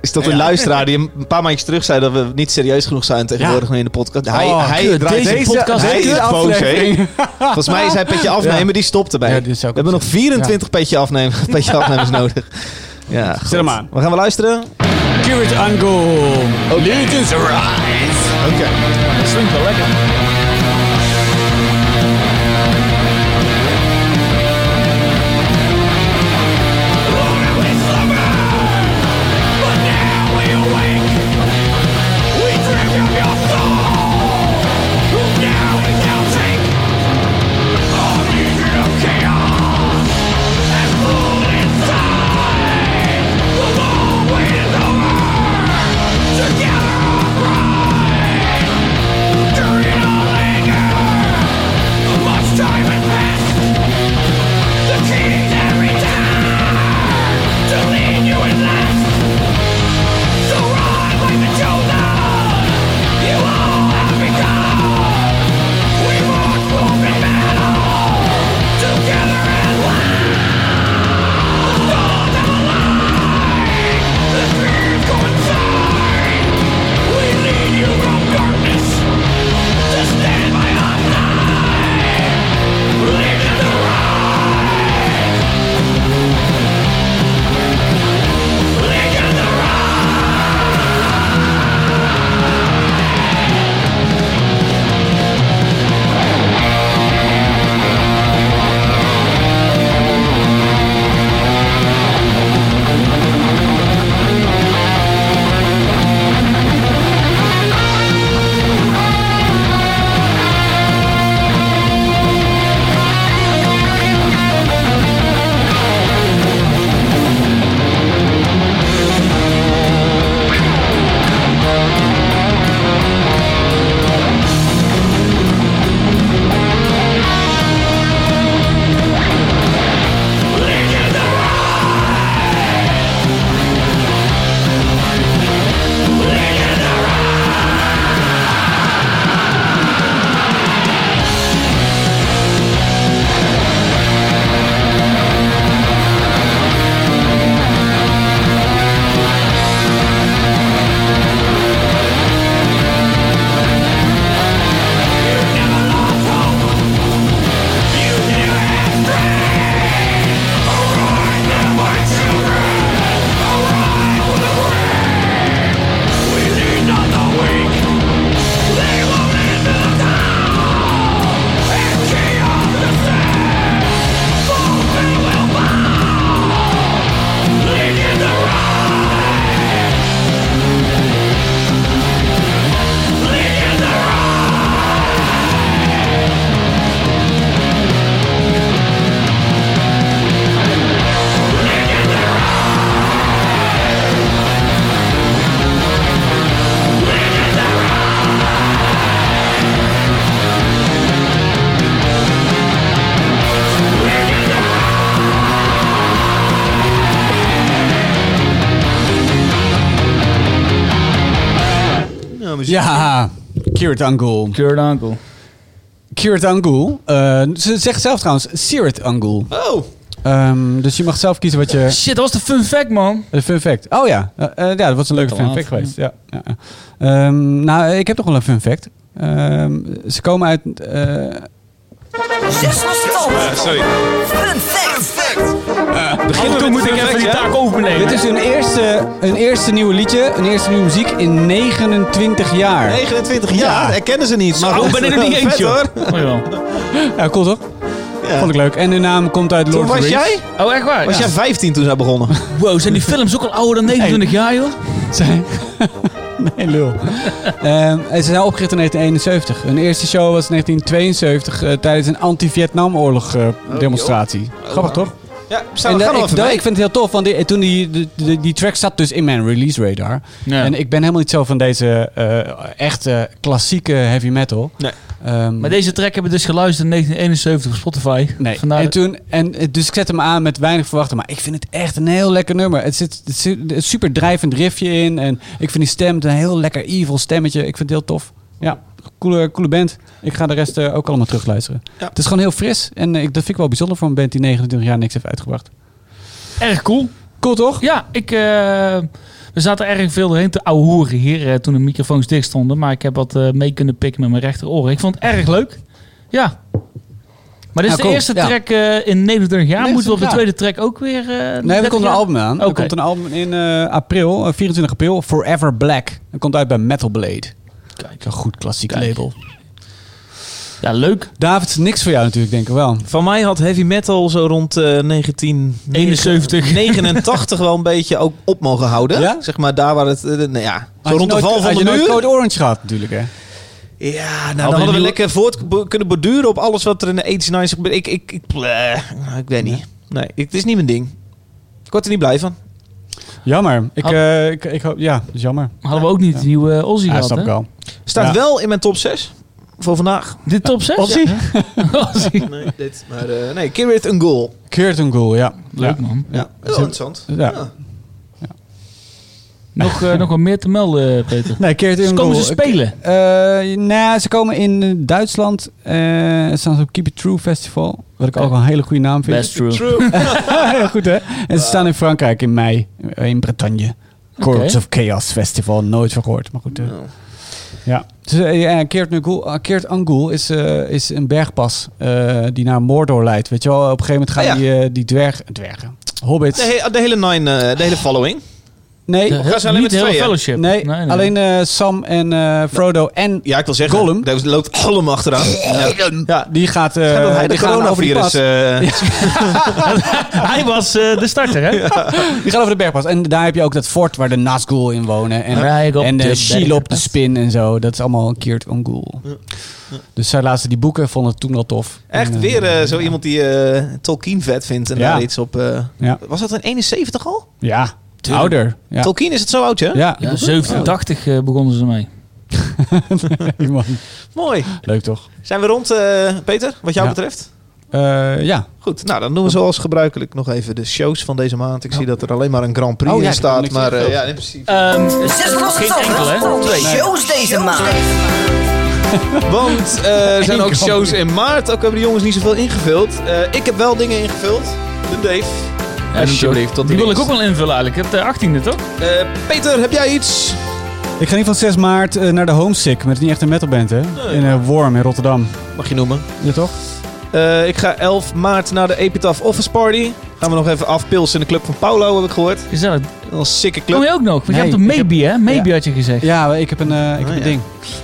[SPEAKER 5] Is dat een luisteraar die een paar maandjes terug zei dat we niet serieus genoeg zijn tegenwoordig in de podcast? Hij,
[SPEAKER 1] Oh,
[SPEAKER 5] hij
[SPEAKER 1] kut,
[SPEAKER 5] draait
[SPEAKER 1] deze podcast-
[SPEAKER 5] hij
[SPEAKER 1] deze
[SPEAKER 5] is boos, hè?
[SPEAKER 1] aflevering.
[SPEAKER 5] Volgens mij is hij petje afnemen, die stopt erbij.
[SPEAKER 1] Ja, die
[SPEAKER 5] we
[SPEAKER 1] zou ik
[SPEAKER 5] hebben
[SPEAKER 1] ook
[SPEAKER 5] nog 24 petje, afnemen, petje afnemers nodig. Ja, goed.
[SPEAKER 1] hem aan.
[SPEAKER 5] We gaan wel luisteren.
[SPEAKER 1] Kirit Angul. Legends Rise.
[SPEAKER 5] Oké.
[SPEAKER 2] Dat klinkt wel lekker.
[SPEAKER 1] Ja, Kirit Angul.
[SPEAKER 2] Cured uncle.
[SPEAKER 1] Kirit Angul. Eh, ze zegt zelf trouwens Sirit Angul.
[SPEAKER 5] Oh.
[SPEAKER 1] Ehm, dus je mag zelf kiezen wat je...
[SPEAKER 2] Shit, dat was de fun fact, man.
[SPEAKER 1] Een fun fact. Oh ja, Eh, eh, ja dat was een leuke
[SPEAKER 2] al
[SPEAKER 1] fun
[SPEAKER 2] af,
[SPEAKER 1] fact geweest. Ja. Ja. Ehm, nou, ik heb nog wel een fun fact. Ehm, ze komen uit... eh,
[SPEAKER 14] Zes was het al.
[SPEAKER 15] Sorry.
[SPEAKER 14] Fun fact.
[SPEAKER 2] Af en toe moet ik even die taak overnemen.
[SPEAKER 1] dit is hun eerste, hun eerste nieuwe liedje, hun eerste nieuwe muziek in 29 jaar.
[SPEAKER 5] 29 jaar, herkennen ze niet. Maar
[SPEAKER 2] Oh,
[SPEAKER 5] goed.
[SPEAKER 2] ben ik er niet
[SPEAKER 5] Vet,
[SPEAKER 2] eentje,
[SPEAKER 5] hoor.
[SPEAKER 2] hoor. Mooi wel.
[SPEAKER 1] Ja, cool toch? Vond ik leuk. En hun naam komt uit Lord of
[SPEAKER 5] Toen
[SPEAKER 1] the
[SPEAKER 5] was
[SPEAKER 1] Rings.
[SPEAKER 5] jij?
[SPEAKER 2] Oh, echt waar?
[SPEAKER 5] Was
[SPEAKER 2] Ja.
[SPEAKER 5] jij 15 toen zij begonnen?
[SPEAKER 2] Wow, zijn die films ook al ouder dan 29 jaar, joh?
[SPEAKER 1] Zijn. nee, lul. Ehm, en ze zijn opgericht in 1971. Hun eerste show was in 1972 eh, tijdens een anti-Vietnamoorlog eh, demonstratie. Grappig toch?
[SPEAKER 5] Ja,
[SPEAKER 1] En
[SPEAKER 5] staan,
[SPEAKER 1] dat-
[SPEAKER 5] gaan
[SPEAKER 1] ik, dat- ik vind het heel tof, want die, toen die, de- de- die track zat dus in mijn release radar.
[SPEAKER 2] Ja.
[SPEAKER 1] En ik ben helemaal niet zo van deze eh, echte klassieke heavy metal.
[SPEAKER 5] Nee.
[SPEAKER 1] Ehm,
[SPEAKER 2] Maar deze track hebben we dus geluisterd in 1971 op Spotify.
[SPEAKER 1] Nee,
[SPEAKER 2] Vandaar
[SPEAKER 1] en toen, en, eh, dus ik zet hem aan met weinig verwachten. Maar ik vind het echt een heel lekker nummer. Het zit, het zit een super drijvend riffje in. En ik vind die stem het een heel lekker evil stemmetje. Ik vind het heel tof. Ja, coole, coole band. Ik ga de rest eh, ook allemaal terugluisteren.
[SPEAKER 5] Ja.
[SPEAKER 1] Het is gewoon heel fris. En eh, ik, dat vind ik wel bijzonder voor een band die 29 jaar niks heeft uitgebracht.
[SPEAKER 2] erg cool.
[SPEAKER 1] Cool toch?
[SPEAKER 2] Ja, ik, eh, we zaten erg veel doorheen te ouwehoeren hier eh, toen de microfoons dicht stonden. Maar ik heb wat eh, mee kunnen pikken met mijn rechteroor. Ik vond het erg leuk. Ja. Maar dit
[SPEAKER 1] Ja,
[SPEAKER 2] is
[SPEAKER 1] cool.
[SPEAKER 2] de eerste
[SPEAKER 1] Ja.
[SPEAKER 2] track eh, in 29 jaar. Moeten we op de
[SPEAKER 1] 29
[SPEAKER 2] tweede track ook weer... eh,
[SPEAKER 1] Nee, er
[SPEAKER 2] 30
[SPEAKER 1] komt een
[SPEAKER 2] jaar?
[SPEAKER 1] album aan. Er
[SPEAKER 2] Oké.
[SPEAKER 1] komt een album in eh, april, eh, 24 april. Forever Black. Dat komt uit bij Metal Blade.
[SPEAKER 2] Kijk.
[SPEAKER 1] Een goed klassiek
[SPEAKER 2] Kijk.
[SPEAKER 1] label.
[SPEAKER 2] Ja, leuk.
[SPEAKER 1] David, niks voor jou natuurlijk, denk ik wel.
[SPEAKER 5] Van mij had heavy metal zo rond eh 1971,
[SPEAKER 2] 71.
[SPEAKER 5] 89 wel een beetje ook op mogen houden.
[SPEAKER 1] Ja?
[SPEAKER 5] Zeg maar daar waar het, eh, nou ja, zo
[SPEAKER 1] Had je
[SPEAKER 5] rond de
[SPEAKER 1] nooit-
[SPEAKER 5] val van
[SPEAKER 1] had
[SPEAKER 5] de
[SPEAKER 1] je nooit
[SPEAKER 5] muur.
[SPEAKER 1] Code Orange gehad natuurlijk, hè?
[SPEAKER 5] Ja, nou, dan
[SPEAKER 2] een
[SPEAKER 5] hadden we
[SPEAKER 2] nieuwe-
[SPEAKER 5] lekker voort bo- kunnen borduren op alles wat er in de 80s, 90s gebeurt. Ik, ik, ik, bleh, ik weet niet. Nee, ik- het is niet mijn ding. Ik word er niet blij van.
[SPEAKER 1] Jammer. Ik,
[SPEAKER 2] Had-
[SPEAKER 1] eh, ik, ik hoop, ja, dat is jammer.
[SPEAKER 2] Hadden we ook niet Ah. die nieuwe eh, Ozzy
[SPEAKER 1] Ja,
[SPEAKER 2] gehad,
[SPEAKER 1] snap
[SPEAKER 2] hè?
[SPEAKER 1] ik al.
[SPEAKER 5] Staat
[SPEAKER 1] Ja.
[SPEAKER 5] wel in mijn top 6 voor vandaag.
[SPEAKER 2] Dit top 6?
[SPEAKER 1] Ozzy?
[SPEAKER 2] Ozzy.
[SPEAKER 5] Nee, dit. Maar eh nee, Kirit een goal.
[SPEAKER 1] Curtain Ghoul, ja.
[SPEAKER 2] Leuk, man.
[SPEAKER 1] Ja.
[SPEAKER 5] Heel Oh, interessant.
[SPEAKER 1] Ja.
[SPEAKER 2] Nog, eh, nog wat meer te melden, Peter.
[SPEAKER 1] Nee, Curtain
[SPEAKER 2] Dus komen
[SPEAKER 1] Ghoul.
[SPEAKER 2] ze spelen?
[SPEAKER 1] Ik- eh, nou ja, ze komen in eh, Duitsland. Eh, Ze staan op Keep It True Festival. Wat ik ook wel een hele goede naam vind.
[SPEAKER 2] Best true.
[SPEAKER 1] Heel goed, hè? En ze staan in Frankrijk in mei. eh, In Bretagne. Courts of Chaos Festival. Nooit van gehoord, maar goed. eh.
[SPEAKER 5] Nou.
[SPEAKER 1] Ja. Dus, eh, ja, Keert, Nugul, eh, Keert Angul is, eh, is een bergpas eh, die naar Mordor leidt. Weet je wel, op een gegeven moment gaan
[SPEAKER 5] Ah, ja.
[SPEAKER 1] die, eh, die dwerg, dwergen, hobbits...
[SPEAKER 5] De, he- de hele nine, eh, de hele following.
[SPEAKER 1] nee,
[SPEAKER 2] De-
[SPEAKER 5] gaan ze alleen
[SPEAKER 2] niet
[SPEAKER 5] met
[SPEAKER 2] heel
[SPEAKER 5] tweeën?
[SPEAKER 2] fellowship.
[SPEAKER 1] nee, alleen eh, Sam en eh, Frodo en...
[SPEAKER 5] Ja, ik wil zeggen.
[SPEAKER 1] Gollum.
[SPEAKER 5] Daar loopt Gollum achteraan. Ja. Ja.
[SPEAKER 1] Die gaat, eh,
[SPEAKER 5] Gaat dat hij de
[SPEAKER 1] die gaan over die
[SPEAKER 5] coronavirus...
[SPEAKER 1] pas.
[SPEAKER 5] eh,
[SPEAKER 2] Hij was eh, de starter, hè?
[SPEAKER 1] Die gaan over de bergpas. En daar heb je ook dat fort waar de Nazgul in wonen. En,
[SPEAKER 2] Rijk op
[SPEAKER 1] en
[SPEAKER 2] de
[SPEAKER 1] de Shilop de
[SPEAKER 2] bergpas.
[SPEAKER 1] spin en zo. Dat is allemaal Keert Angul. Dus zij lazen die boeken, vonden het toen al tof.
[SPEAKER 5] Echt
[SPEAKER 1] En, eh,
[SPEAKER 5] weer eh, zo iemand die eh, Tolkien vet vindt en
[SPEAKER 1] Ja.
[SPEAKER 5] daar iets op... eh,
[SPEAKER 1] Ja.
[SPEAKER 5] Was dat in 71 al?
[SPEAKER 1] Ja, ouder. Ja.
[SPEAKER 5] Tolkien is het zo oud, hè?
[SPEAKER 1] Ja,
[SPEAKER 2] Ja, 87 eh, begonnen ze mee.
[SPEAKER 1] Nee, man.
[SPEAKER 5] Mooi.
[SPEAKER 1] Leuk toch?
[SPEAKER 5] Zijn we rond, eh, Peter, wat jou
[SPEAKER 1] Ja.
[SPEAKER 5] betreft?
[SPEAKER 1] Eh, ja.
[SPEAKER 5] Goed, nou dan doen we zoals gebruikelijk nog even de shows van deze maand. Ik zie dat er alleen maar een Grand Prix
[SPEAKER 1] Oh, ja,
[SPEAKER 5] in
[SPEAKER 1] ik heb
[SPEAKER 5] staat,
[SPEAKER 1] niks
[SPEAKER 5] maar eh,
[SPEAKER 1] ingevuld.
[SPEAKER 5] ja, in principe.
[SPEAKER 7] Zes losse
[SPEAKER 2] Ehm, eh, Geen enkel, hè?
[SPEAKER 7] tanden. Shows deze maand.
[SPEAKER 5] Want eh, er zijn ook
[SPEAKER 1] Grand
[SPEAKER 5] shows in maart, ook hebben de jongens niet zoveel ingevuld. Eh, ik heb wel dingen ingevuld. De Dave. Alsjeblieft, tot
[SPEAKER 2] Die wil ik
[SPEAKER 5] links.
[SPEAKER 2] ook wel invullen eigenlijk. De 18e, toch?
[SPEAKER 5] Eh, Peter, heb jij iets?
[SPEAKER 1] Ik ga in ieder geval 6 maart eh, naar de Homesick. Met niet echt een metalband, hè? In eh, Worm in Rotterdam.
[SPEAKER 5] Mag je noemen.
[SPEAKER 1] Ja, toch?
[SPEAKER 5] Eh, ik ga 11 maart naar de Epitaph Office Party. Gaan we nog even afpilsen in de club van Paulo, heb ik gehoord.
[SPEAKER 2] Gezellig.
[SPEAKER 5] Dat is een sikke club.
[SPEAKER 2] Kom je ook nog? Want
[SPEAKER 1] Nee,
[SPEAKER 2] je hebt een
[SPEAKER 1] ik
[SPEAKER 2] maybe, hè? Maybe had je gezegd.
[SPEAKER 1] Ja, ik heb een, eh, ik heb een
[SPEAKER 5] Ah, ja.
[SPEAKER 1] ding.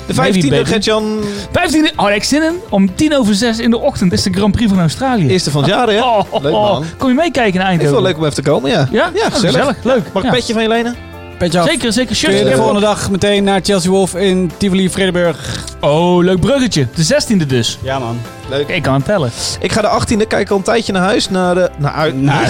[SPEAKER 5] De
[SPEAKER 2] Maybe,
[SPEAKER 5] 15e,
[SPEAKER 2] baby.
[SPEAKER 5] Gert-Jan,
[SPEAKER 2] 15e, oh, ik zin in. Om tien over zes in de ochtend is de Grand Prix van Australië.
[SPEAKER 5] eerste van het jaar, hè?
[SPEAKER 2] Oh, oh, oh.
[SPEAKER 5] Leuk, man.
[SPEAKER 2] Kom je meekijken in
[SPEAKER 5] Ik vind het
[SPEAKER 2] Eindhoven?
[SPEAKER 5] wel leuk om even te komen, ja.
[SPEAKER 2] Ja?
[SPEAKER 5] Ja,
[SPEAKER 2] Oh,
[SPEAKER 5] gezellig.
[SPEAKER 2] Leuk.
[SPEAKER 5] Mag ik
[SPEAKER 2] Ja.
[SPEAKER 5] een petje van je lenen?
[SPEAKER 1] Petje af.
[SPEAKER 2] Zeker, zeker.
[SPEAKER 1] Kun
[SPEAKER 2] Shirtje
[SPEAKER 1] je de
[SPEAKER 2] heb ik
[SPEAKER 1] volgende dag meteen naar Chelsea Wolf in Tivoli, Vredenburg?
[SPEAKER 2] ook. Oh, leuk bruggetje. De 16e dus.
[SPEAKER 1] Ja, man.
[SPEAKER 5] Leuk.
[SPEAKER 2] Oké, ik kan het tellen.
[SPEAKER 5] Ik ga de 18e, kijk al een tijdje naar huis. Naar, eh, naar uit.
[SPEAKER 1] Nou,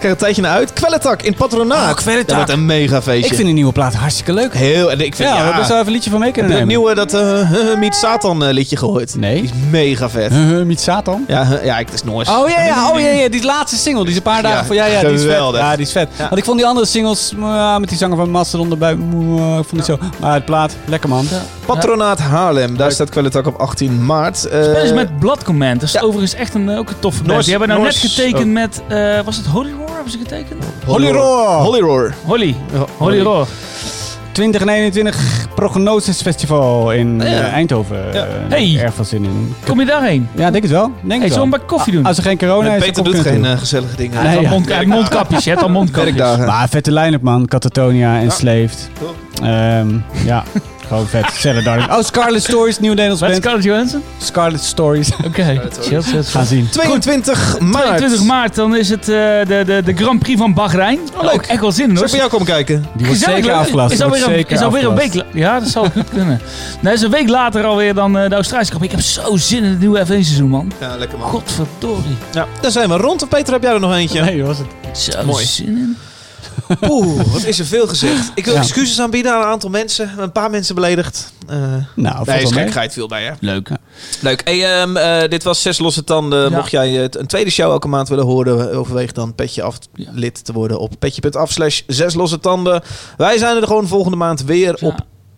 [SPEAKER 5] Kijk een tijdje naar uit. Kwelletak in het patronaat.
[SPEAKER 1] Oh, Kwelletak.
[SPEAKER 5] Dat wordt een mega feestje.
[SPEAKER 1] ik vind die nieuwe plaat hartstikke leuk.
[SPEAKER 5] heel. En ik vind
[SPEAKER 1] Ja,
[SPEAKER 5] ja.
[SPEAKER 1] we hebben
[SPEAKER 5] ja
[SPEAKER 1] zo even een liedje van mee kunnen
[SPEAKER 5] heb je het
[SPEAKER 1] nemen.
[SPEAKER 5] nieuwe dat eh Meet Satan eh, liedje gehoord?
[SPEAKER 1] Nee.
[SPEAKER 5] Die is mega vet.
[SPEAKER 1] Huh, huh, Miet Satan?
[SPEAKER 5] Ja, huh, ja, het is Noors.
[SPEAKER 1] Oh ja, ja, oh ja, ja, die laatste single, die is een paar dagen
[SPEAKER 5] Ja,
[SPEAKER 1] voor. Ja, ja, die is vet.
[SPEAKER 5] geweldig.
[SPEAKER 1] Ja, die is vet.
[SPEAKER 5] Ja.
[SPEAKER 1] Want ik vond die andere singles mwah, met die zanger van Mastodon erbij, mwah, eh, ik vond die zo. Maar het plaat, lekker man.
[SPEAKER 5] Patronaat Haarlem. Daar staat Kwelletak op 18 maart. Eh,
[SPEAKER 2] Dat is met Blood Command. Dat is
[SPEAKER 5] ja.
[SPEAKER 2] overigens echt een, eh, ook een toffe band.
[SPEAKER 5] Noors-
[SPEAKER 2] Die hebben nou
[SPEAKER 5] Noors-
[SPEAKER 2] net getekend
[SPEAKER 5] oh.
[SPEAKER 2] met... eh, was het Holy Roar? Hebben ze getekend?
[SPEAKER 1] Holy Roar!
[SPEAKER 5] Holy Roar. Oh,
[SPEAKER 2] Holly. Holy Roar.
[SPEAKER 1] 2021 Prognosis Festival in eh, Eindhoven.
[SPEAKER 5] Ja.
[SPEAKER 1] Eh,
[SPEAKER 2] Hey.
[SPEAKER 1] Erg veel zin in.
[SPEAKER 2] Kom je daarheen?
[SPEAKER 1] Ja, denk het wel. Denk
[SPEAKER 2] Hey,
[SPEAKER 1] het
[SPEAKER 2] zullen
[SPEAKER 1] wel. Ah,
[SPEAKER 2] we maar koffie doen?
[SPEAKER 1] Als er geen corona is,
[SPEAKER 5] Peter
[SPEAKER 1] dan kom
[SPEAKER 5] doet
[SPEAKER 1] ik
[SPEAKER 5] geen
[SPEAKER 1] naartoe.
[SPEAKER 5] eh, gezellige dingen.
[SPEAKER 1] Nee,
[SPEAKER 2] Hij
[SPEAKER 1] ja.
[SPEAKER 2] heeft al mondka- mondkapjes, je hebt al mondkapjes.
[SPEAKER 5] Werkdagen.
[SPEAKER 1] Maar vette line-up man. Katatonia en Slaved. Ehm, ja,
[SPEAKER 16] Gewoon vet. Sarah Darling. Oh, Scarlet Stories, nieuw Nederlands
[SPEAKER 2] Wat
[SPEAKER 16] band.
[SPEAKER 2] Scarlett Johansson?
[SPEAKER 16] Scarlet Stories.
[SPEAKER 2] Oké. Chill, chill, chill.
[SPEAKER 16] Gaan zien.
[SPEAKER 5] 22 maart.
[SPEAKER 2] 22 maart, dan is het eh, de, de, de Grand Prix van Bahrein.
[SPEAKER 5] leuk.
[SPEAKER 2] Ook echt wel zin
[SPEAKER 5] Zal
[SPEAKER 2] in, hoor.
[SPEAKER 5] ik bij jou komen kijken?
[SPEAKER 16] Die wordt
[SPEAKER 2] Gezellig,
[SPEAKER 16] zeker
[SPEAKER 2] leuk.
[SPEAKER 16] afgelast.
[SPEAKER 2] Is
[SPEAKER 16] Die wordt
[SPEAKER 2] alweer, een,
[SPEAKER 16] zeker
[SPEAKER 2] is alweer een
[SPEAKER 16] afgelast.
[SPEAKER 2] week la- Ja, dat zou goed kunnen. Nou, is een week later alweer dan eh, de Australische Cup. Ik heb zo zin in het nieuwe F1 seizoen, man.
[SPEAKER 5] Ja, lekker man.
[SPEAKER 2] Godverdorie.
[SPEAKER 5] Ja, daar zijn we rond. Peter, heb jij er nog eentje?
[SPEAKER 16] Nee, was het.
[SPEAKER 2] Zo
[SPEAKER 5] Mooi.
[SPEAKER 2] zin in.
[SPEAKER 5] Poeh, wat is er veel gezegd. Ik wil
[SPEAKER 16] Ja.
[SPEAKER 5] excuses aanbieden aan een aantal mensen. Een paar mensen beledigd. Eh
[SPEAKER 16] Nou,
[SPEAKER 5] nee, is
[SPEAKER 16] volgens mij.
[SPEAKER 5] gekheid veel bij, hè?
[SPEAKER 2] Leuk.
[SPEAKER 5] Leuk. Hey, ehm, eh, dit was Zes Losse Tanden.
[SPEAKER 2] Ja.
[SPEAKER 5] Mocht jij eh, t- een tweede show elke maand willen horen, eh, overweeg dan Petje Af
[SPEAKER 2] Ja.
[SPEAKER 5] lid te worden op petje.af slash Zes Losse Tanden. Wij zijn er gewoon volgende maand weer
[SPEAKER 2] Ja.
[SPEAKER 5] op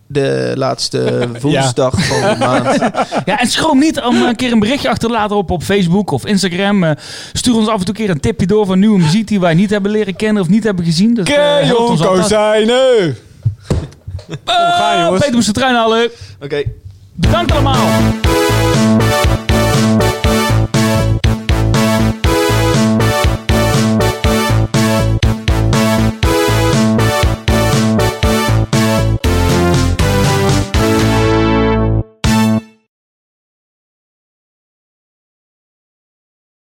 [SPEAKER 5] de laatste woensdag van de maand.
[SPEAKER 2] Ja, en schroom niet om eh, een keer een berichtje achter te laten op, op Facebook of Instagram. Eh, stuur ons af en toe een keer een tipje door van nieuwe muziek die wij niet hebben leren kennen of niet hebben gezien. Dat, eh, helpt ons altijd.
[SPEAKER 16] Kozijnen!
[SPEAKER 2] Eh,
[SPEAKER 16] jongens.
[SPEAKER 2] Peter moest de trein halen.
[SPEAKER 5] Oké.
[SPEAKER 2] Bedankt allemaal.